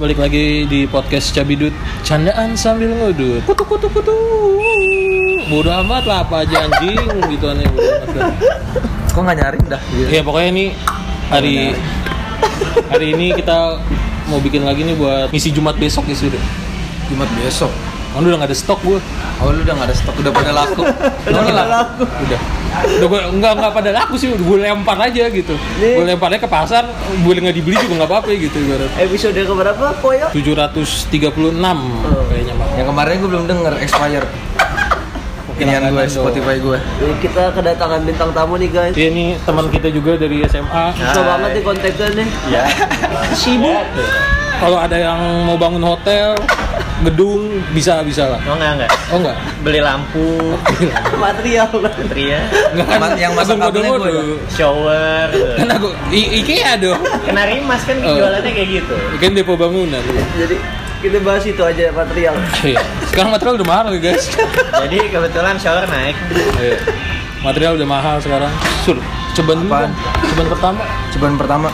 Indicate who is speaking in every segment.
Speaker 1: balik lagi di podcast Cabidut Candaan sambil ngudut Kutu kutu kutu Bodoh amat lah apa aja anjing gitu aneh bodoh amat dah.
Speaker 2: Kok nggak nyari udah?
Speaker 1: Ya pokoknya ini hari hari ini kita mau bikin lagi nih buat misi Jumat besok ya sudah
Speaker 2: Jumat besok.
Speaker 1: Kan udah gak ada stok gue
Speaker 2: Oh lu udah nggak ada stok, udah pada laku.
Speaker 1: Udah
Speaker 2: Udah
Speaker 1: laku. Udah Udah gue enggak, enggak pada laku sih Gue lempar aja gitu Gue lemparnya ke pasar Boleh nggak dibeli juga nggak apa-apa gitu ibarat
Speaker 3: Episode keberapa Koyo?
Speaker 1: ya? 736 kayaknya mah
Speaker 2: Yang kemarin gue belum denger expired. Pilihan gue
Speaker 1: Langganan dong.
Speaker 2: Spotify gue.
Speaker 3: Eh, Kita kedatangan bintang tamu nih guys
Speaker 1: Iya ini teman kita juga dari SMA.
Speaker 3: Susah
Speaker 2: Hai.
Speaker 3: banget nih kontaknya nih
Speaker 2: Ya.
Speaker 3: Sibuk
Speaker 1: Kalau ada yang mau bangun hotel, gedung bisa bisa lah.
Speaker 4: Oh enggak enggak.
Speaker 1: Oh enggak?
Speaker 4: Beli lampu, iya.
Speaker 3: material
Speaker 4: Satria,
Speaker 1: Enggak
Speaker 2: Yang- yang masak ya?
Speaker 1: langsung
Speaker 2: kabelnya
Speaker 1: bodoh-bodoh.
Speaker 2: gue
Speaker 4: shower.
Speaker 1: Kan aku I- IKEA dong.
Speaker 4: Kenari mas kan
Speaker 1: Oh.
Speaker 4: jualannya kayak gitu.
Speaker 1: Kan depo bangunan.
Speaker 3: Jadi kita bahas itu aja material
Speaker 1: Iya. Sekarang material udah mahal ya, guys.
Speaker 4: Jadi kebetulan shower naik.
Speaker 1: Iya. Material udah mahal sekarang. Sur, cobaan dulu.
Speaker 2: Apaan?
Speaker 1: Bang. Cobaan pertama.
Speaker 2: Cobaan pertama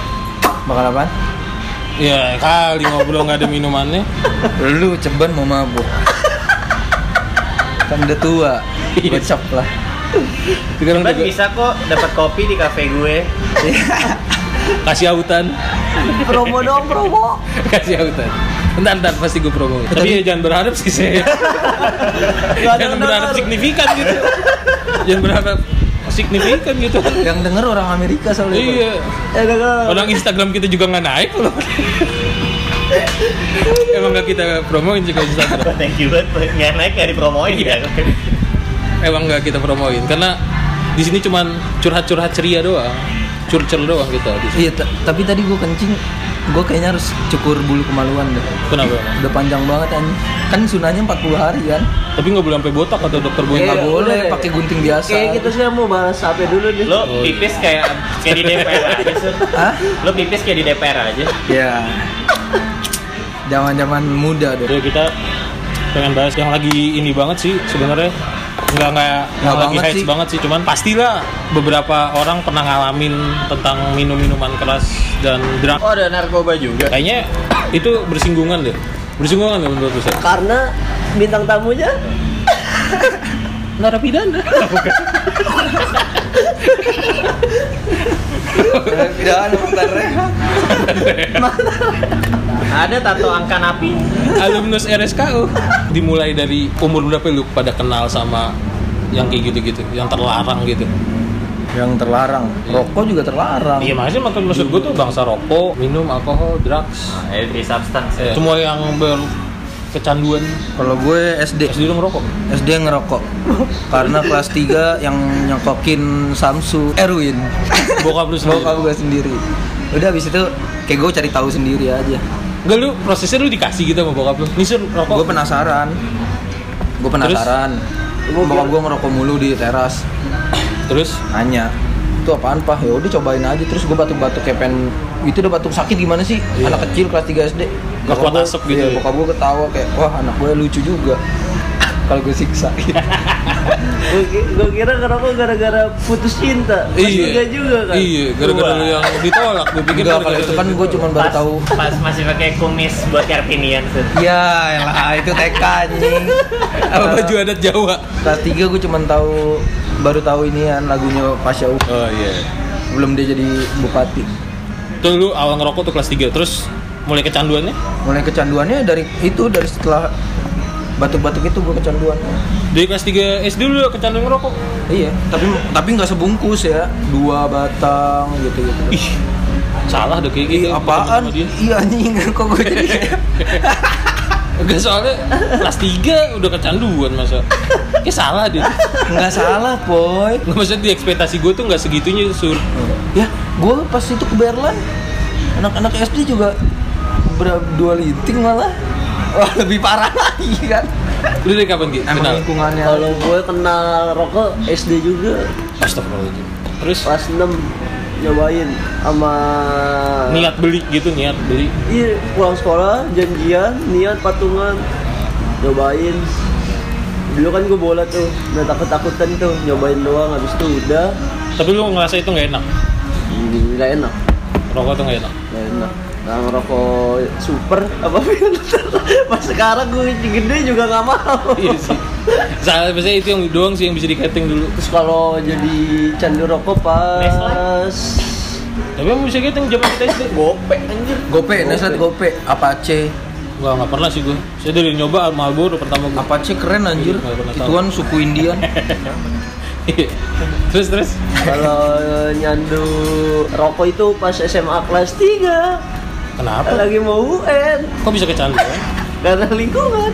Speaker 2: bakal apaan?
Speaker 1: Ya kali ngobrol nggak ada minumannya.
Speaker 2: Lu ceban mau mabuk. Kan udah tua.
Speaker 1: Iya.
Speaker 2: Gocap lah.
Speaker 1: Sekarang
Speaker 4: Cuman
Speaker 1: juga
Speaker 4: bisa kok dapat kopi di kafe gue.
Speaker 1: kasih autan,
Speaker 3: Promo dong promo
Speaker 1: kasih autan. Entar entar pasti gue promo. Tapi ya jangan berharap sih saya.
Speaker 3: Gak ada
Speaker 1: jangan berharap
Speaker 3: pendengar.
Speaker 1: signifikan gitu jangan berharap signifikan gitu
Speaker 2: Yang denger orang Amerika soalnya.
Speaker 1: iya
Speaker 3: Eh gak gak
Speaker 1: orang Instagram kita juga nggak naik loh emang nggak kita promoin juga Instagram
Speaker 4: Wah, Thank you banget. Nggak naik nggak dipromoin ya.
Speaker 1: emang nggak kita promoin karena di sini cuman curhat-curhat ceria doang curcel doang kita di sini
Speaker 2: Iya, ta- tapi tadi gue kencing, gue kayaknya harus cukur bulu kemaluan deh.
Speaker 1: kenapa
Speaker 2: Udah panjang banget kan. Kan sunanya 40 hari kan.
Speaker 1: tapi nggak boleh sampai botak atau dokter boy
Speaker 2: Nggak
Speaker 3: Iya,
Speaker 2: boleh
Speaker 3: boleh.
Speaker 2: pakai gunting biasa.
Speaker 3: Oke kita sih mau bahas apa dulu nih
Speaker 4: Lo pipis kayak kayak di DPR aja Sur.
Speaker 2: Hah?
Speaker 4: Lo pipis kayak di DPR aja.
Speaker 2: Ya. Zaman-zaman muda deh.
Speaker 1: ya kita pengen bahas yang lagi ini banget sih sebenarnya nggak nggak nggak
Speaker 2: Nggak
Speaker 1: lagi
Speaker 2: banget
Speaker 1: hits
Speaker 2: sih.
Speaker 1: banget sih cuman pastilah beberapa orang pernah ngalamin tentang minum minuman keras dan drug
Speaker 4: Oh ada narkoba juga.
Speaker 1: kayaknya itu bersinggungan deh bersinggungan nggak menurut lu Seth?
Speaker 3: Karena bintang tamunya
Speaker 1: narapidana
Speaker 2: Pindahan bentar rehat.
Speaker 4: Ada tato angka napi.
Speaker 1: alumnus RSKU dimulai dari umur berapa lu pada kenal sama yang kayak gitu-gitu yang terlarang gitu
Speaker 2: Yang terlarang. Rokok juga terlarang.
Speaker 1: iya maksudnya maksud, maksud gue tuh bangsa rokok minum alkohol drugs
Speaker 4: Every substance. ya.
Speaker 1: semua yang berkecanduan
Speaker 2: Kalau gue SD,
Speaker 1: SD lu ngerokok
Speaker 2: SD ngerokok. Karena kelas 3 yang nyokokin Samsu, Erwin.
Speaker 1: bokap lu sendiri
Speaker 2: Bokap gue sendiri. Udah habis itu kayak gue cari tahu sendiri aja.
Speaker 1: Enggak lu prosesnya lu dikasih gitu sama bokap lu. Nih Sur, rokok.
Speaker 2: Gue penasaran. Gue penasaran. Bokap gue ngerokok mulu di teras.
Speaker 1: Terus
Speaker 2: nanya itu apaan pak ya udah cobain aja terus gue batuk-batuk kayak pengen itu udah batuk sakit gimana sih
Speaker 1: Iya.
Speaker 2: anak kecil kelas 3 SD
Speaker 1: Nggak kuat
Speaker 2: Bokap gua-
Speaker 1: asap gitu
Speaker 2: iya,
Speaker 1: ya?
Speaker 2: bokap gue ketawa kayak wah anak gue lucu juga kalau gue siksa gitu.
Speaker 3: Gue kira ngerokok gara-gara putus cinta Pas juga juga kan
Speaker 1: Iya, gara-gara lu yang ditolak gue pikir
Speaker 2: enggak kalau
Speaker 1: gara-gara
Speaker 2: itu kan
Speaker 1: lu
Speaker 2: gue cuma baru
Speaker 4: Pas,
Speaker 2: tahu
Speaker 4: pas masih pakai kumis buat karpinian Sur.
Speaker 2: ya elah itu TK anjing
Speaker 1: ditolak. apa baju adat Jawa.
Speaker 2: kelas 3 gue cuma tahu baru tahu inian lagunya Pasha Ungu.
Speaker 1: Oh iya.
Speaker 2: belum dia jadi bupati
Speaker 1: Tuh lu awal ngerokok tuh kelas 3. Terus mulai kecanduannya
Speaker 2: mulai kecanduannya dari itu dari setelah batuk-batuk itu gue kecanduan
Speaker 1: dari kelas 3 SD lu udah kecanduan ngerokok.
Speaker 2: Iya, tapi tapi nggak sebungkus ya, dua batang gitu gitu.
Speaker 1: Ih. Salah deh kayak gitu.
Speaker 2: Iya apaan?
Speaker 1: ketemu sama dia.
Speaker 2: Iya anjing kok gue jadi kayak-
Speaker 1: Enggak soalnya kelas 3 udah kecanduan masa. Kayak salah deh.
Speaker 2: nggak salah, boy.
Speaker 1: Nggak maksudnya di ekspektasi gue tuh nggak segitunya sur.
Speaker 2: Ya, gue pas itu ke Berlin, anak-anak SD juga berdua linting malah. Wah, lebih parah lagi kan.
Speaker 1: Lu dari kapan gitu?
Speaker 2: Emang
Speaker 1: Kenal.
Speaker 2: lingkungannya
Speaker 3: Kalau gue kenal rokok SD juga
Speaker 1: Astagfirullahaladzim. Terus
Speaker 3: Kelas 6 nyobain sama
Speaker 1: niat beli gitu niat beli
Speaker 3: Iya, pulang sekolah, janjian, niat patungan, nyobain. Dulu kan gue bola tuh, udah takut-takutan tuh, nyobain doang, habis itu udah,
Speaker 1: tapi lu ngerasa itu nggak enak
Speaker 3: nggak enak,
Speaker 1: rokok tuh nggak enak
Speaker 3: nggak enak. Nah, ngerokok super apa filter. Pas sekarang gue gede juga nggak mau.
Speaker 1: iya sih salah biasanya itu yang doang sih yang bisa di-cutting dulu
Speaker 3: Terus kalau jadi candu rokok pas
Speaker 1: tapi emang bisa cutting zaman kita SD
Speaker 4: Gope anjir.
Speaker 2: Gope, Neslet Gope, Apache.
Speaker 1: Wah nggak pernah sih gue saya dari nyoba Marlboro pertama gue
Speaker 2: Apache keren anjir.
Speaker 1: Iya, Nggak pernah tahu.
Speaker 2: Ituan suku Indian.
Speaker 1: Iya. terus terus
Speaker 3: kalau nyandu rokok itu pas SMA kelas 3
Speaker 1: kenapa
Speaker 3: lagi mau UN
Speaker 1: kok bisa kan? kecanduan
Speaker 3: karena lingkungan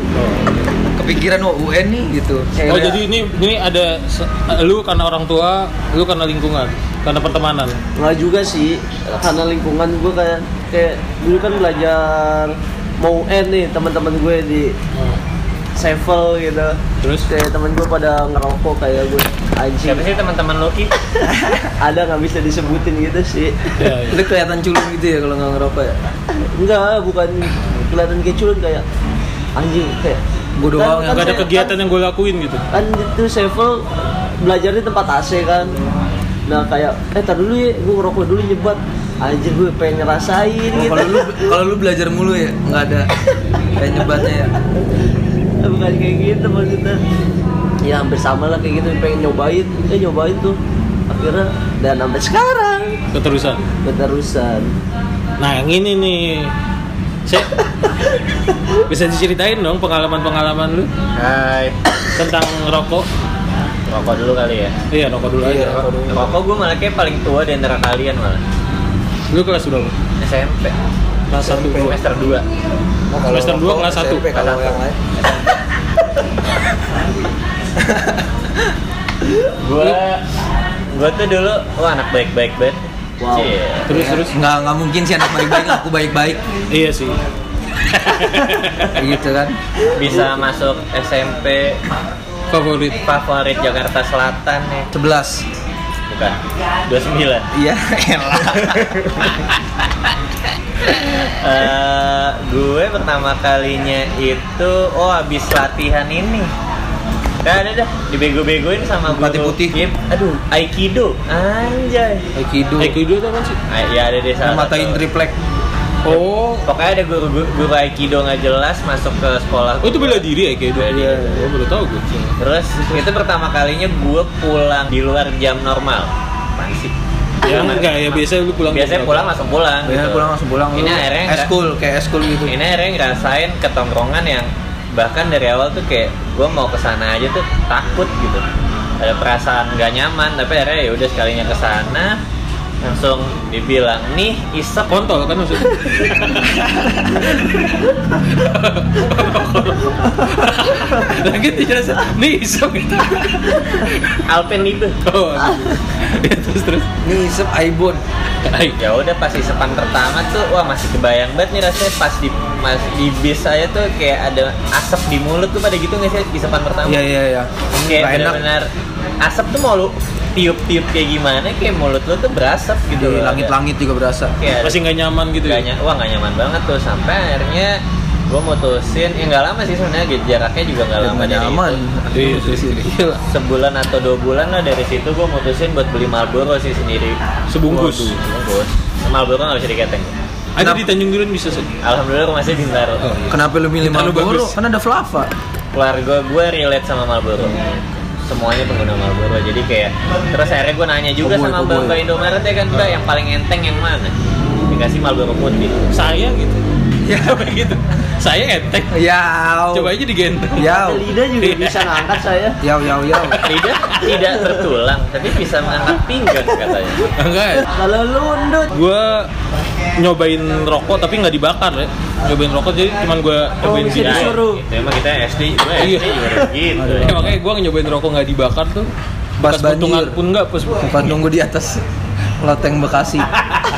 Speaker 2: Kepikiran oh, UN nih gitu.
Speaker 1: oh jadi ini ini ada se- lu karena orang tua lu karena lingkungan karena pertemanan
Speaker 3: nggak juga sih karena lingkungan gue kayak kayak dulu kan belajar mau UN nih teman-teman gue di
Speaker 1: Oh.
Speaker 3: Sevel gitu
Speaker 1: terus
Speaker 3: kayak teman gue pada ngerokok kayak gue anjing
Speaker 4: Siapa sih teman-teman lo Ki?
Speaker 3: ada nggak bisa disebutin gitu sih
Speaker 1: ya, ya.
Speaker 2: Lu kelihatan culun gitu ya kalau nggak ngerokok ya.
Speaker 3: enggak bukan kelihatan keculun kayak anjing kayak Kan
Speaker 2: Gua doang
Speaker 1: nggak
Speaker 2: yang
Speaker 1: ada
Speaker 3: saya-
Speaker 1: kegiatan yang gue lakuin gitu
Speaker 3: kan itu Sevel belajar di tempat AC kan nah kayak eh tar dulu ya gue ngerokok dulu nyebat anjir gue pengen ngerasain
Speaker 2: Oh,
Speaker 3: gitu
Speaker 2: Kalau lu kalau lu belajar mulu ya nggak ada kayak nyebatnya ya.
Speaker 3: bukan kayak gitu maksudnya ya hampir sama lah kayak gitu pengen nyobain eh nyobain tuh akhirnya dan sampai sekarang
Speaker 1: keterusan
Speaker 3: keterusan
Speaker 1: nah yang ini nih saya bisa diceritain dong pengalaman-pengalaman lu
Speaker 4: Hai.
Speaker 1: tentang rokok
Speaker 4: Rokok dulu kali ya.
Speaker 1: iya rokok dulu
Speaker 2: Iya,
Speaker 1: aja
Speaker 2: rokok dulu.
Speaker 4: Rokok gue malah kayak paling tua di antara kalian malah.
Speaker 1: lu kelas berapa
Speaker 4: SMP.
Speaker 1: kelas satu
Speaker 4: Semester 2.
Speaker 2: Oh, kalau
Speaker 1: Semester dua,
Speaker 2: rokok,
Speaker 1: kelas satu.
Speaker 2: SMP, Kalau yang lain.
Speaker 4: Gua gua tuh dulu wah anak baik-baik banget.
Speaker 3: Wow.
Speaker 4: Cie.
Speaker 2: Iya.
Speaker 1: terus terus
Speaker 2: Nggak nggak mungkin sih anak baik-baik aku baik-baik
Speaker 1: iya sih
Speaker 2: gitu kan.
Speaker 4: Bisa masuk SMP
Speaker 1: favorit
Speaker 4: favorit Jakarta Selatan ya.
Speaker 2: 11.
Speaker 4: Bukan. 29.
Speaker 2: Iya, elah.
Speaker 4: Eh, gue pertama kalinya itu oh habis latihan ini. Nah, ada dah dibego-begoin sama
Speaker 2: Merpati
Speaker 4: guru.
Speaker 2: putih.
Speaker 4: Yep. Aduh, Aikido. Anjay.
Speaker 2: Aikido.
Speaker 1: Aikido itu apa sih
Speaker 4: Ah, ya ada deh salah
Speaker 2: Matain
Speaker 4: satu.
Speaker 2: triplek.
Speaker 1: oh
Speaker 4: Pokoknya ada guru, guru, guru Aikido nggak jelas masuk ke sekolah.
Speaker 1: oh itu bela diri Aikido
Speaker 4: Bela diri.
Speaker 1: oh baru tahu gue
Speaker 4: Terus itu pertama kalinya gue pulang di luar jam normal. Apaan sih?
Speaker 1: ya enggak ya biasanya lu pulang
Speaker 4: Iya. Biasanya
Speaker 1: jam
Speaker 4: pulang
Speaker 1: berapa?
Speaker 4: langsung pulang.
Speaker 2: Biasanya
Speaker 4: gitu.
Speaker 2: pulang langsung pulang
Speaker 4: Ini akhirnya nggak-
Speaker 2: eskul kayak eskul gitu.
Speaker 4: ini akhirnya ngerasain ketongkrongan yang bahkan dari awal tuh kayak gue mau kesana aja tuh takut gitu ada perasaan gak nyaman tapi akhirnya ya udah sekalinya kesana langsung dibilang nih isep
Speaker 1: kontol kan maksudnya lagi dijelasin nih isep gitu
Speaker 4: alpenlibe
Speaker 1: oh ya, terus terus
Speaker 2: Nih isep Aibon.
Speaker 1: Ay,
Speaker 4: ya udah pas isepan pertama tuh wah masih kebayang banget nih rasanya pas di mas, di bis saya tuh kayak ada asap di mulut tuh pada gitu nggak sih isepan pertama
Speaker 2: Iya iya iya.
Speaker 4: kayak
Speaker 2: Nggak enak.
Speaker 4: benar-benar asap tuh mau lu tiup-tiup kayak gimana kayak mulut lu tuh berasap
Speaker 2: Di
Speaker 4: gitu loh.
Speaker 2: langit-langit juga berasa.
Speaker 4: Kayak ada-
Speaker 1: masih nggak nyaman gitu
Speaker 4: gak
Speaker 1: ya
Speaker 4: nyaman, wah gak nyaman banget tuh sampai akhirnya gue mutusin ya nggak lama sih sebenarnya gitu. jaraknya juga nggak lama
Speaker 2: Nggak
Speaker 4: dari
Speaker 2: nyaman.
Speaker 4: itu.
Speaker 1: Iya, iya, iya.
Speaker 2: Gila.
Speaker 4: sebulan atau dua bulan lah dari situ gue mutusin buat beli Marlboro sih sendiri
Speaker 1: sebungkus
Speaker 4: Waduh,
Speaker 2: Iya,
Speaker 4: bungkus Marlboro nggak bisa diketeng
Speaker 1: ada di Tanjung Duren bisa sih
Speaker 4: alhamdulillah rumah saya
Speaker 1: Oh,
Speaker 4: Bintaro
Speaker 1: iya.
Speaker 2: Kenapa lu milih
Speaker 1: Kita lu
Speaker 2: Marlboro?
Speaker 1: bagus.
Speaker 2: Kan ada Flava.
Speaker 4: keluarga gue relate sama Marlboro semuanya pengguna Marlboro jadi kayak terus akhirnya gue nanya juga
Speaker 2: Koboi,
Speaker 4: sama
Speaker 2: koboi.
Speaker 4: mbak mbak Indomaret ya kan mbak yang paling enteng yang mana dikasih Marlboro putih
Speaker 1: saya gitu
Speaker 2: Ya.
Speaker 1: gitu saya enteng
Speaker 2: Yau.
Speaker 1: coba aja digenteng
Speaker 2: Yau.
Speaker 3: lidah juga bisa ngangkat saya
Speaker 2: Yau yau yau.
Speaker 4: lidah tidak tertulang tapi bisa mengangkat pinggang katanya
Speaker 1: enggak ya?
Speaker 3: kalau lu undut
Speaker 1: gue nyobain rokok tapi nggak dibakar ya nyobain rokok jadi cuman gue
Speaker 3: Oh,
Speaker 1: nyobain
Speaker 3: bisa
Speaker 1: sini aja.
Speaker 3: disuruh.
Speaker 4: Itu gitu, emang kita SD, gue SD
Speaker 1: Iya.
Speaker 4: juga udah gitu.
Speaker 1: Ya, makanya gue nyobain rokok nggak dibakar tuh
Speaker 2: Pas
Speaker 1: bekas puntungan
Speaker 2: banjir.
Speaker 1: pun nggak pas
Speaker 2: Bukan nunggu di atas loteng Bekasi.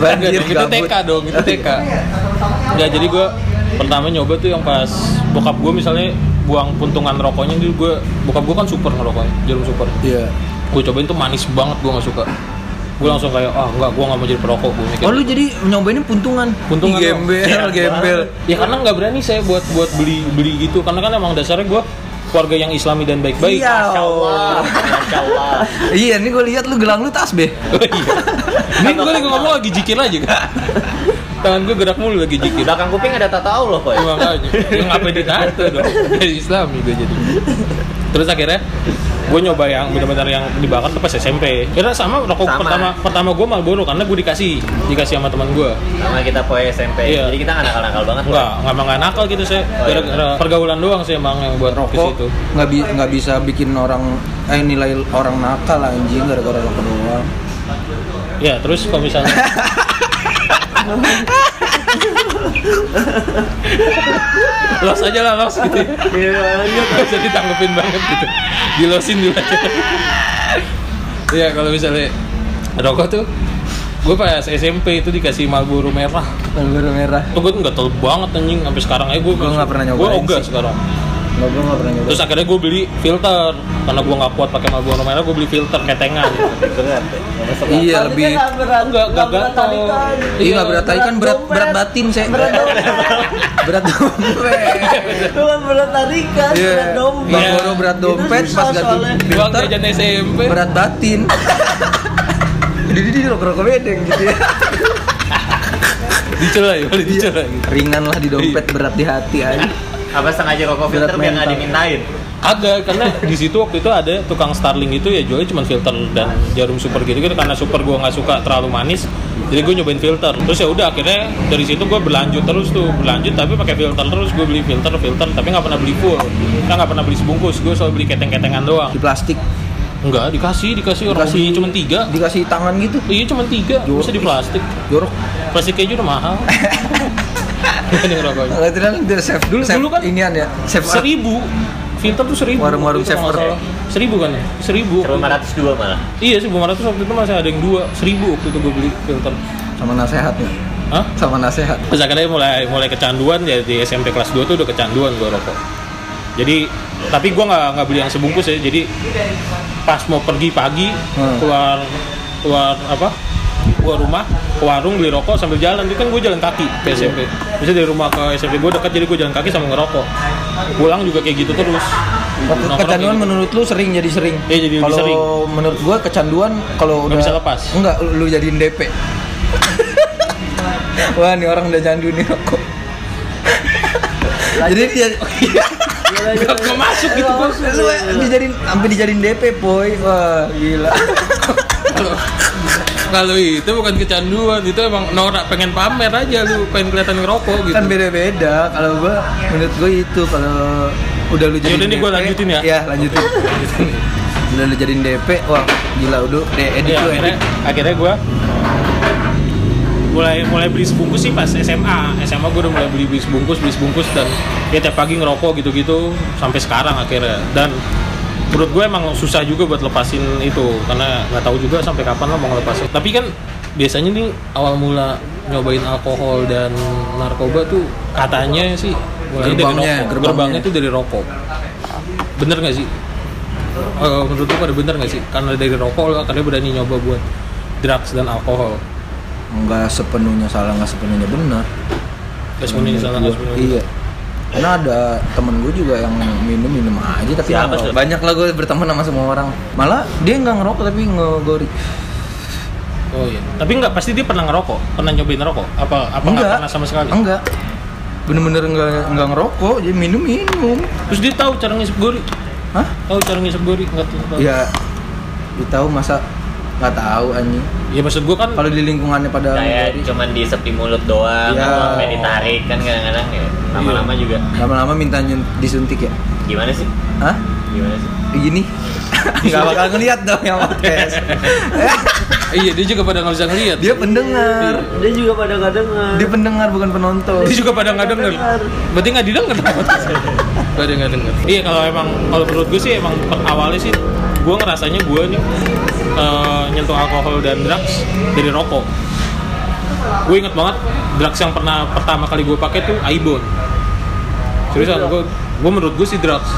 Speaker 2: Banjir
Speaker 1: Enggak dong, itu
Speaker 2: gabut.
Speaker 1: TK dong, itu TK. Enggak, jadi gue pertama nyoba tuh yang pas bokap gue misalnya buang puntungan rokoknya dulu gue bokap gue kan super ngerokoknya jarum super
Speaker 2: Iya.
Speaker 1: gue cobain tuh manis banget gue nggak suka gue langsung kayak ah nggak gue nggak mau jadi perokok gue mikir
Speaker 2: Oh lu jadi nyobainnya puntungan.
Speaker 1: Puntungan
Speaker 2: Ih,
Speaker 1: dong.
Speaker 2: gembel gembel.
Speaker 1: Iya, ya karena nggak berani saya buat buat beli beli gitu karena kan emang dasarnya gue keluarga yang islami dan baik-baik
Speaker 2: Iya.
Speaker 4: Masya Allah, Masya Allah.
Speaker 2: Iya, ini gue lihat lu gelang lu tas be.
Speaker 1: Oh, iya. Ini gue lagi ngomong lagi jikir aja kan. tangan gue gerak mulu lagi
Speaker 4: Di
Speaker 1: jikir
Speaker 4: belakang kuping ada tata Allah kok ya.
Speaker 1: Gua makanya Ya ngapain ditato dong Dari Islam gue jadi Terus akhirnya gue nyoba yang benar-benar yang dibakar tuh pas SMP. Kira sama rokok
Speaker 4: Sama.
Speaker 1: pertama pertama gue Marlboro karena gue dikasih dikasih sama teman gue.
Speaker 4: Sama kita poe SMP.
Speaker 1: Iya.
Speaker 4: Jadi kita nggak nakal-nakal banget. Boy.
Speaker 1: Enggak, enggak enggak nakal gitu saya.
Speaker 4: Oh, iya.
Speaker 1: Gara-gara pergaulan doang sih emang yang buat rokok
Speaker 2: Kok
Speaker 1: situ.
Speaker 2: nggak bi- nggak bisa bikin orang eh nilai orang nakal anjing gara-gara rokok doang.
Speaker 1: Ya, terus kalau misalnya los aja lah los gitu
Speaker 2: Iya,
Speaker 1: Gak bisa ditanggepin banget gitu Dilosin dulu aja Iya kalau misalnya Rokok tuh Gue pas SMP itu dikasih Marlboro merah
Speaker 2: Baru merah.
Speaker 1: Tuh gue nggak tau banget anjing Sampai sekarang aja gue
Speaker 2: Gua nggak pernah nyobain
Speaker 1: Gue ogah
Speaker 2: sih.
Speaker 1: sekarang
Speaker 2: Nggak gue nggak pernah nyoba.
Speaker 1: Terus akhirnya gue beli filter Karena gue nggak kuat pakai Marlboro merah Gue beli filter ketengan
Speaker 4: Berat. ya.
Speaker 2: iya lebih.
Speaker 1: Enggak, enggak gatel
Speaker 2: Iya nggak berat tadi kan berat
Speaker 3: Dompet.
Speaker 2: berat batin saya.
Speaker 3: Berat dompet.
Speaker 2: Berat dompet.
Speaker 3: Itu kan berat tarikan,
Speaker 2: Iya.
Speaker 3: berat dompet.
Speaker 1: Iya.
Speaker 2: Bang Goro berat
Speaker 3: Itu
Speaker 2: dompet
Speaker 3: susah
Speaker 2: pas ganti
Speaker 3: soalnya.
Speaker 1: Gue
Speaker 2: filter
Speaker 1: jajan SMP
Speaker 2: berat batin. Jadi dia rokok-rokok bedeng gitu ya.
Speaker 1: Dicela ya,
Speaker 2: Iya.
Speaker 1: boleh dicela gitu
Speaker 2: Ringan lah di dompet,
Speaker 1: Iya.
Speaker 2: berat di hati aja.
Speaker 4: Apa sengaja rokok filter
Speaker 2: Berat
Speaker 4: biar nggak
Speaker 2: mental.
Speaker 4: dimintain?
Speaker 1: Kagak, karena di situ waktu itu ada tukang Starling itu ya jualnya cuma filter dan jarum super gitu gitu karena super gua nggak suka terlalu manis. Jadi gue nyobain filter. Terus ya udah akhirnya dari situ gue berlanjut terus tuh, berlanjut tapi pakai filter terus gue beli filter filter tapi nggak pernah beli full. Kita nggak pernah beli sebungkus, gue selalu beli keteng-ketengan doang.
Speaker 2: Di plastik.
Speaker 1: Enggak, dikasih, dikasih Iya, orang
Speaker 2: Dikasih-
Speaker 1: belinya cuma tiga.
Speaker 2: Dikasih tangan gitu.
Speaker 1: Iya cuma tiga,
Speaker 2: Jorok.
Speaker 1: bisa di plastik.
Speaker 2: Jorok.
Speaker 1: Plastik keju udah mahal. Ini rokoknya.
Speaker 2: Kalau tidak udah save
Speaker 1: Dulu-
Speaker 2: save
Speaker 1: dulu kan
Speaker 2: inian ya. Save art.
Speaker 1: Seribu, filter tuh seribu.
Speaker 2: Warung-warung
Speaker 1: Itu kalau
Speaker 2: saver
Speaker 1: nggak
Speaker 2: ya?
Speaker 1: salah. Seribu kan ya? Seribu.
Speaker 4: 502 malah.
Speaker 1: Iya 1500 waktu itu masih ada yang dua 1000 waktu itu gue beli filter.
Speaker 2: sama nasehatnya.
Speaker 1: Hah?
Speaker 2: Sama nasehat.
Speaker 1: Terus akhirnya mulai mulai kecanduan ya di SMP kelas 2 tuh udah kecanduan gue rokok. Jadi tapi gue nggak nggak beli yang sebungkus ya. Jadi pas mau pergi pagi
Speaker 2: Hmm.
Speaker 1: keluar keluar apa? keluar rumah ke warung beli rokok sambil jalan itu kan gue jalan kaki
Speaker 2: Iya.
Speaker 1: ke SMP bisa dari rumah ke SMP gue dekat jadi gue jalan kaki sambil ngerokok pulang juga kayak gitu terus Nongkrong
Speaker 2: Kecanduan
Speaker 1: kayak gitu.
Speaker 2: menurut lu sering jadi sering.
Speaker 1: Iya, jadi lebih
Speaker 2: kalau
Speaker 1: sering.
Speaker 2: menurut gua kecanduan kalau udah
Speaker 1: Nggak bisa lepas.
Speaker 2: Enggak, lu lu jadiin DP. Wah, nih orang udah candu nih rokok. Jadi dia
Speaker 1: Nggak- nggak masuk Iya, gitu
Speaker 3: Nggak
Speaker 1: Bos.
Speaker 3: masuk.
Speaker 2: lu dijadiin sampai dijadiin DP, boy. Wah, gila.
Speaker 1: Gitu. Kalau- kalau itu bukan kecanduan itu emang norak pengen pamer aja lu pengen kelihatan ngerokok gitu
Speaker 2: kan beda-beda kalau gua menurut gua itu kalau udah lu jadi
Speaker 1: Yaudah nih gua lanjutin ya.
Speaker 2: Iya, lanjutin. udah lu jadiin DP, wah gila udah deh edit
Speaker 1: Iya,
Speaker 2: lu
Speaker 1: akhirnya
Speaker 2: edit.
Speaker 1: akhirnya gue mulai mulai beli sebungkus sih pas SMA SMA gue udah mulai beli beli sebungkus beli sebungkus dan ya tiap pagi ngerokok gitu gitu sampai sekarang akhirnya dan menurut gue emang susah juga buat lepasin itu karena nggak tahu juga sampai kapan lo mau ngelepasin tapi kan biasanya nih awal mula nyobain alkohol dan narkoba tuh katanya sih mulai
Speaker 2: Gerbangnya,
Speaker 1: dari rokok
Speaker 2: gerbangnya.
Speaker 1: gerbangnya tuh dari rokok bener nggak sih Eh, menurut lu pada bener nggak sih karena dari rokok lo akhirnya berani nyoba buat drugs dan alkohol
Speaker 2: Enggak sepenuhnya salah, enggak sepenuhnya benar.
Speaker 1: Gak semuanya salah nggak semuanya
Speaker 2: Iya. Karena ada temen gue juga yang minum minum aja tapi
Speaker 4: Siapa
Speaker 2: ngerokok.
Speaker 4: tuh?
Speaker 2: banyak lah gue berteman sama semua orang. Malah dia nggak ngerokok tapi ngegori.
Speaker 1: oh iya tapi nggak pasti dia pernah ngerokok pernah nyobain rokok apa apa nggak pernah sama sekali
Speaker 2: Enggak. Bener-bener enggak enggak ngerokok, dia minum minum.
Speaker 1: terus dia tahu cara ngisep gori
Speaker 2: Hah?
Speaker 1: tahu cara ngisep gori nggak tahu tahu.
Speaker 2: Ya, dia tahu masa nggak tahu anjing.
Speaker 1: ya maksud gue kan
Speaker 2: Kalau di lingkungannya pada
Speaker 4: Kayak Nah, ya, cuman diisep di mulut doang,
Speaker 2: Iya.
Speaker 4: kalau sampai ditarik kan kadang-kadang ya. Lama-lama juga.
Speaker 2: lama-lama minta nyun- disuntik ya.
Speaker 4: Gimana sih?
Speaker 2: Hah?
Speaker 4: Gimana sih?
Speaker 2: Begini? Gak bakal ngeliat dong yang podcast.
Speaker 1: iya dia juga pada nggak bisa ngeliat
Speaker 2: Dia pendengar.
Speaker 3: Dia juga pada eh, nggak dengar.
Speaker 2: Dia pendengar bukan penonton.
Speaker 1: Dia juga pada nggak denger.
Speaker 3: Dengar.
Speaker 1: Berarti nggak didengar Berarti nggak denger. Iya kalau emang kalau menurut gue sih emang per- awalnya sih gue ngerasanya gue nih eh, nyentuh alkohol dan drugs dari rokok. Gue inget banget drugs yang pernah pertama kali gue pakai tuh Aibon. Seriusan gue gue menurut gue sih drugs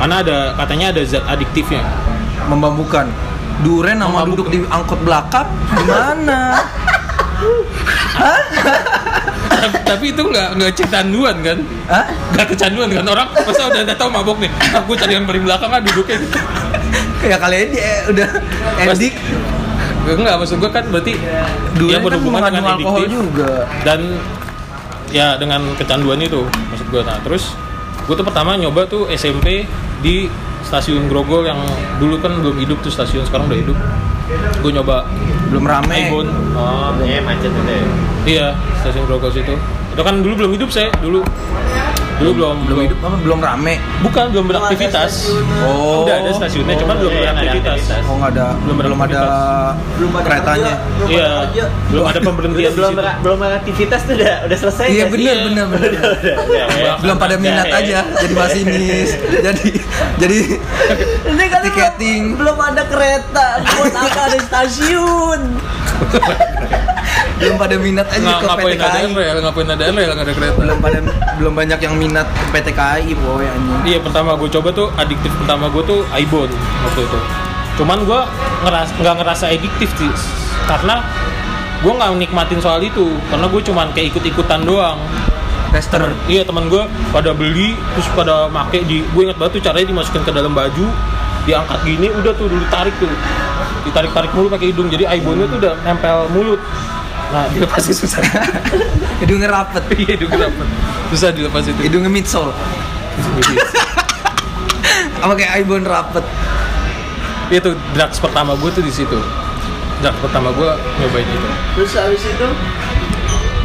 Speaker 1: karena ada katanya ada zat adiktifnya.
Speaker 2: Membambukan. Duren sama duduk di angkot belakang gimana?
Speaker 1: Tapi itu nggak nggak kecanduan kan?
Speaker 2: Hah?
Speaker 1: Nggak kecanduan kan orang masa udah udah tahu mabok nih. ah,
Speaker 2: eh,
Speaker 1: Aku cari yang paling belakang kan duduknya.
Speaker 2: Ya kali ini dia udah edik
Speaker 1: Enggak, maksud gue kan berarti dia
Speaker 2: Dulunya kan
Speaker 1: berhubungan
Speaker 2: mengandung
Speaker 1: dengan
Speaker 2: alkohol
Speaker 1: adiktif
Speaker 2: juga.
Speaker 1: dan ya dengan kecanduan itu maksud gue. Nah terus gue tuh pertama nyoba tuh SMP di stasiun Grogol yang dulu kan belum hidup tuh stasiun sekarang udah hidup. Gue nyoba
Speaker 2: Belum rame.
Speaker 1: Ibon,
Speaker 4: Oh, iya macet itu ya.
Speaker 1: iya stasiun Grogol situ. Itu kan dulu belum hidup saya dulu. Dulu belum
Speaker 2: Belum hidup apa? Belum rame.
Speaker 1: Bukan belum beraktivitas.
Speaker 2: Oh.
Speaker 1: Udah ada stasiunnya, cuman belum
Speaker 4: Iya, ada
Speaker 1: beraktivitas.
Speaker 4: aktivitas.
Speaker 2: Oh nggak ada.
Speaker 1: Belum
Speaker 2: Belum,
Speaker 1: ada
Speaker 2: ada
Speaker 3: Belum ada
Speaker 2: keretanya.
Speaker 3: kerja, belum
Speaker 1: Iya,
Speaker 3: ada kerja.
Speaker 1: belum ada pemberhentian
Speaker 4: Udah
Speaker 1: di
Speaker 4: belum
Speaker 1: situ.
Speaker 4: ber- belum aktivitas tuh udah udah selesai. Iya.
Speaker 2: Iya
Speaker 4: nggak sih?
Speaker 2: benar benar benar.
Speaker 4: Udah, udah, udah.
Speaker 2: Belum pada minat
Speaker 4: Udah, ya.
Speaker 2: aja jadi masinis. jadi jadi
Speaker 3: Ini kan
Speaker 2: Tiketing.
Speaker 3: belum, belum ada kereta, buat apa ada stasiun?
Speaker 2: belum pada minat aja
Speaker 1: Nggak-
Speaker 2: ke
Speaker 1: ngapain ada
Speaker 2: PTKI.
Speaker 1: rel, ngapain ada rel, nggak ada kereta.
Speaker 2: Belum pada belum banyak yang minat ke PTKI boy anjing.
Speaker 1: Iya pertama gue coba tuh adiktif pertama gue tuh Ibon waktu itu. Cuman gue ngeras nggak ngerasa adiktif sih karena gue nggak nikmatin soal itu karena gue cuman kayak ikut-ikutan doang.
Speaker 2: Tester.
Speaker 1: Iya teman gue pada beli terus pada make di gue inget banget tuh caranya dimasukin ke dalam baju diangkat gini udah tuh dulu tarik tuh ditarik tarik mulu pakai hidung jadi Ibonnya tuh udah nempel mulut. Nah dia pasti susah.
Speaker 2: Hidungnya rapet.
Speaker 1: Iya hidung kenapa? Susah dilepas itu.
Speaker 2: Hidungnya midsole. Sama kayak Ibon rapet.
Speaker 1: itu Iya drugs pertama gue tuh di situ drugs pertama gue nyobain itu
Speaker 3: Terus habis itu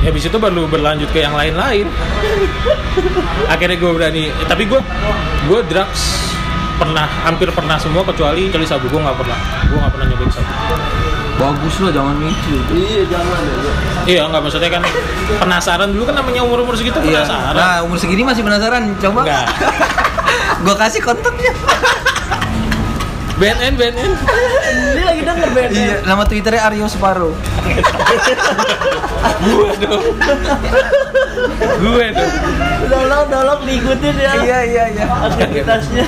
Speaker 1: ya habis itu baru berlanjut ke yang lain-lain akhirnya gue berani eh, tapi gue gue drugs pernah hampir pernah semua kecuali kecuali sabu gue nggak pernah gue nggak pernah nyobain sabu
Speaker 2: Bagus lah jangan micu.
Speaker 3: iya jangan ya.
Speaker 1: iya nggak maksudnya kan penasaran dulu kan namanya umur umur segitu
Speaker 2: Iya.
Speaker 1: penasaran
Speaker 2: Nah, umur segini masih penasaran. Coba.
Speaker 1: Nggak.
Speaker 2: Gua kasih kontaknya.
Speaker 1: BNN BNN
Speaker 3: Ini lagi denger band.
Speaker 2: Iya, nama Twitternya Aryo Separo.
Speaker 1: gue dong gue dong
Speaker 3: Dolok dolok diikutin ya.
Speaker 2: iya, iya.
Speaker 3: Aktivitasnya.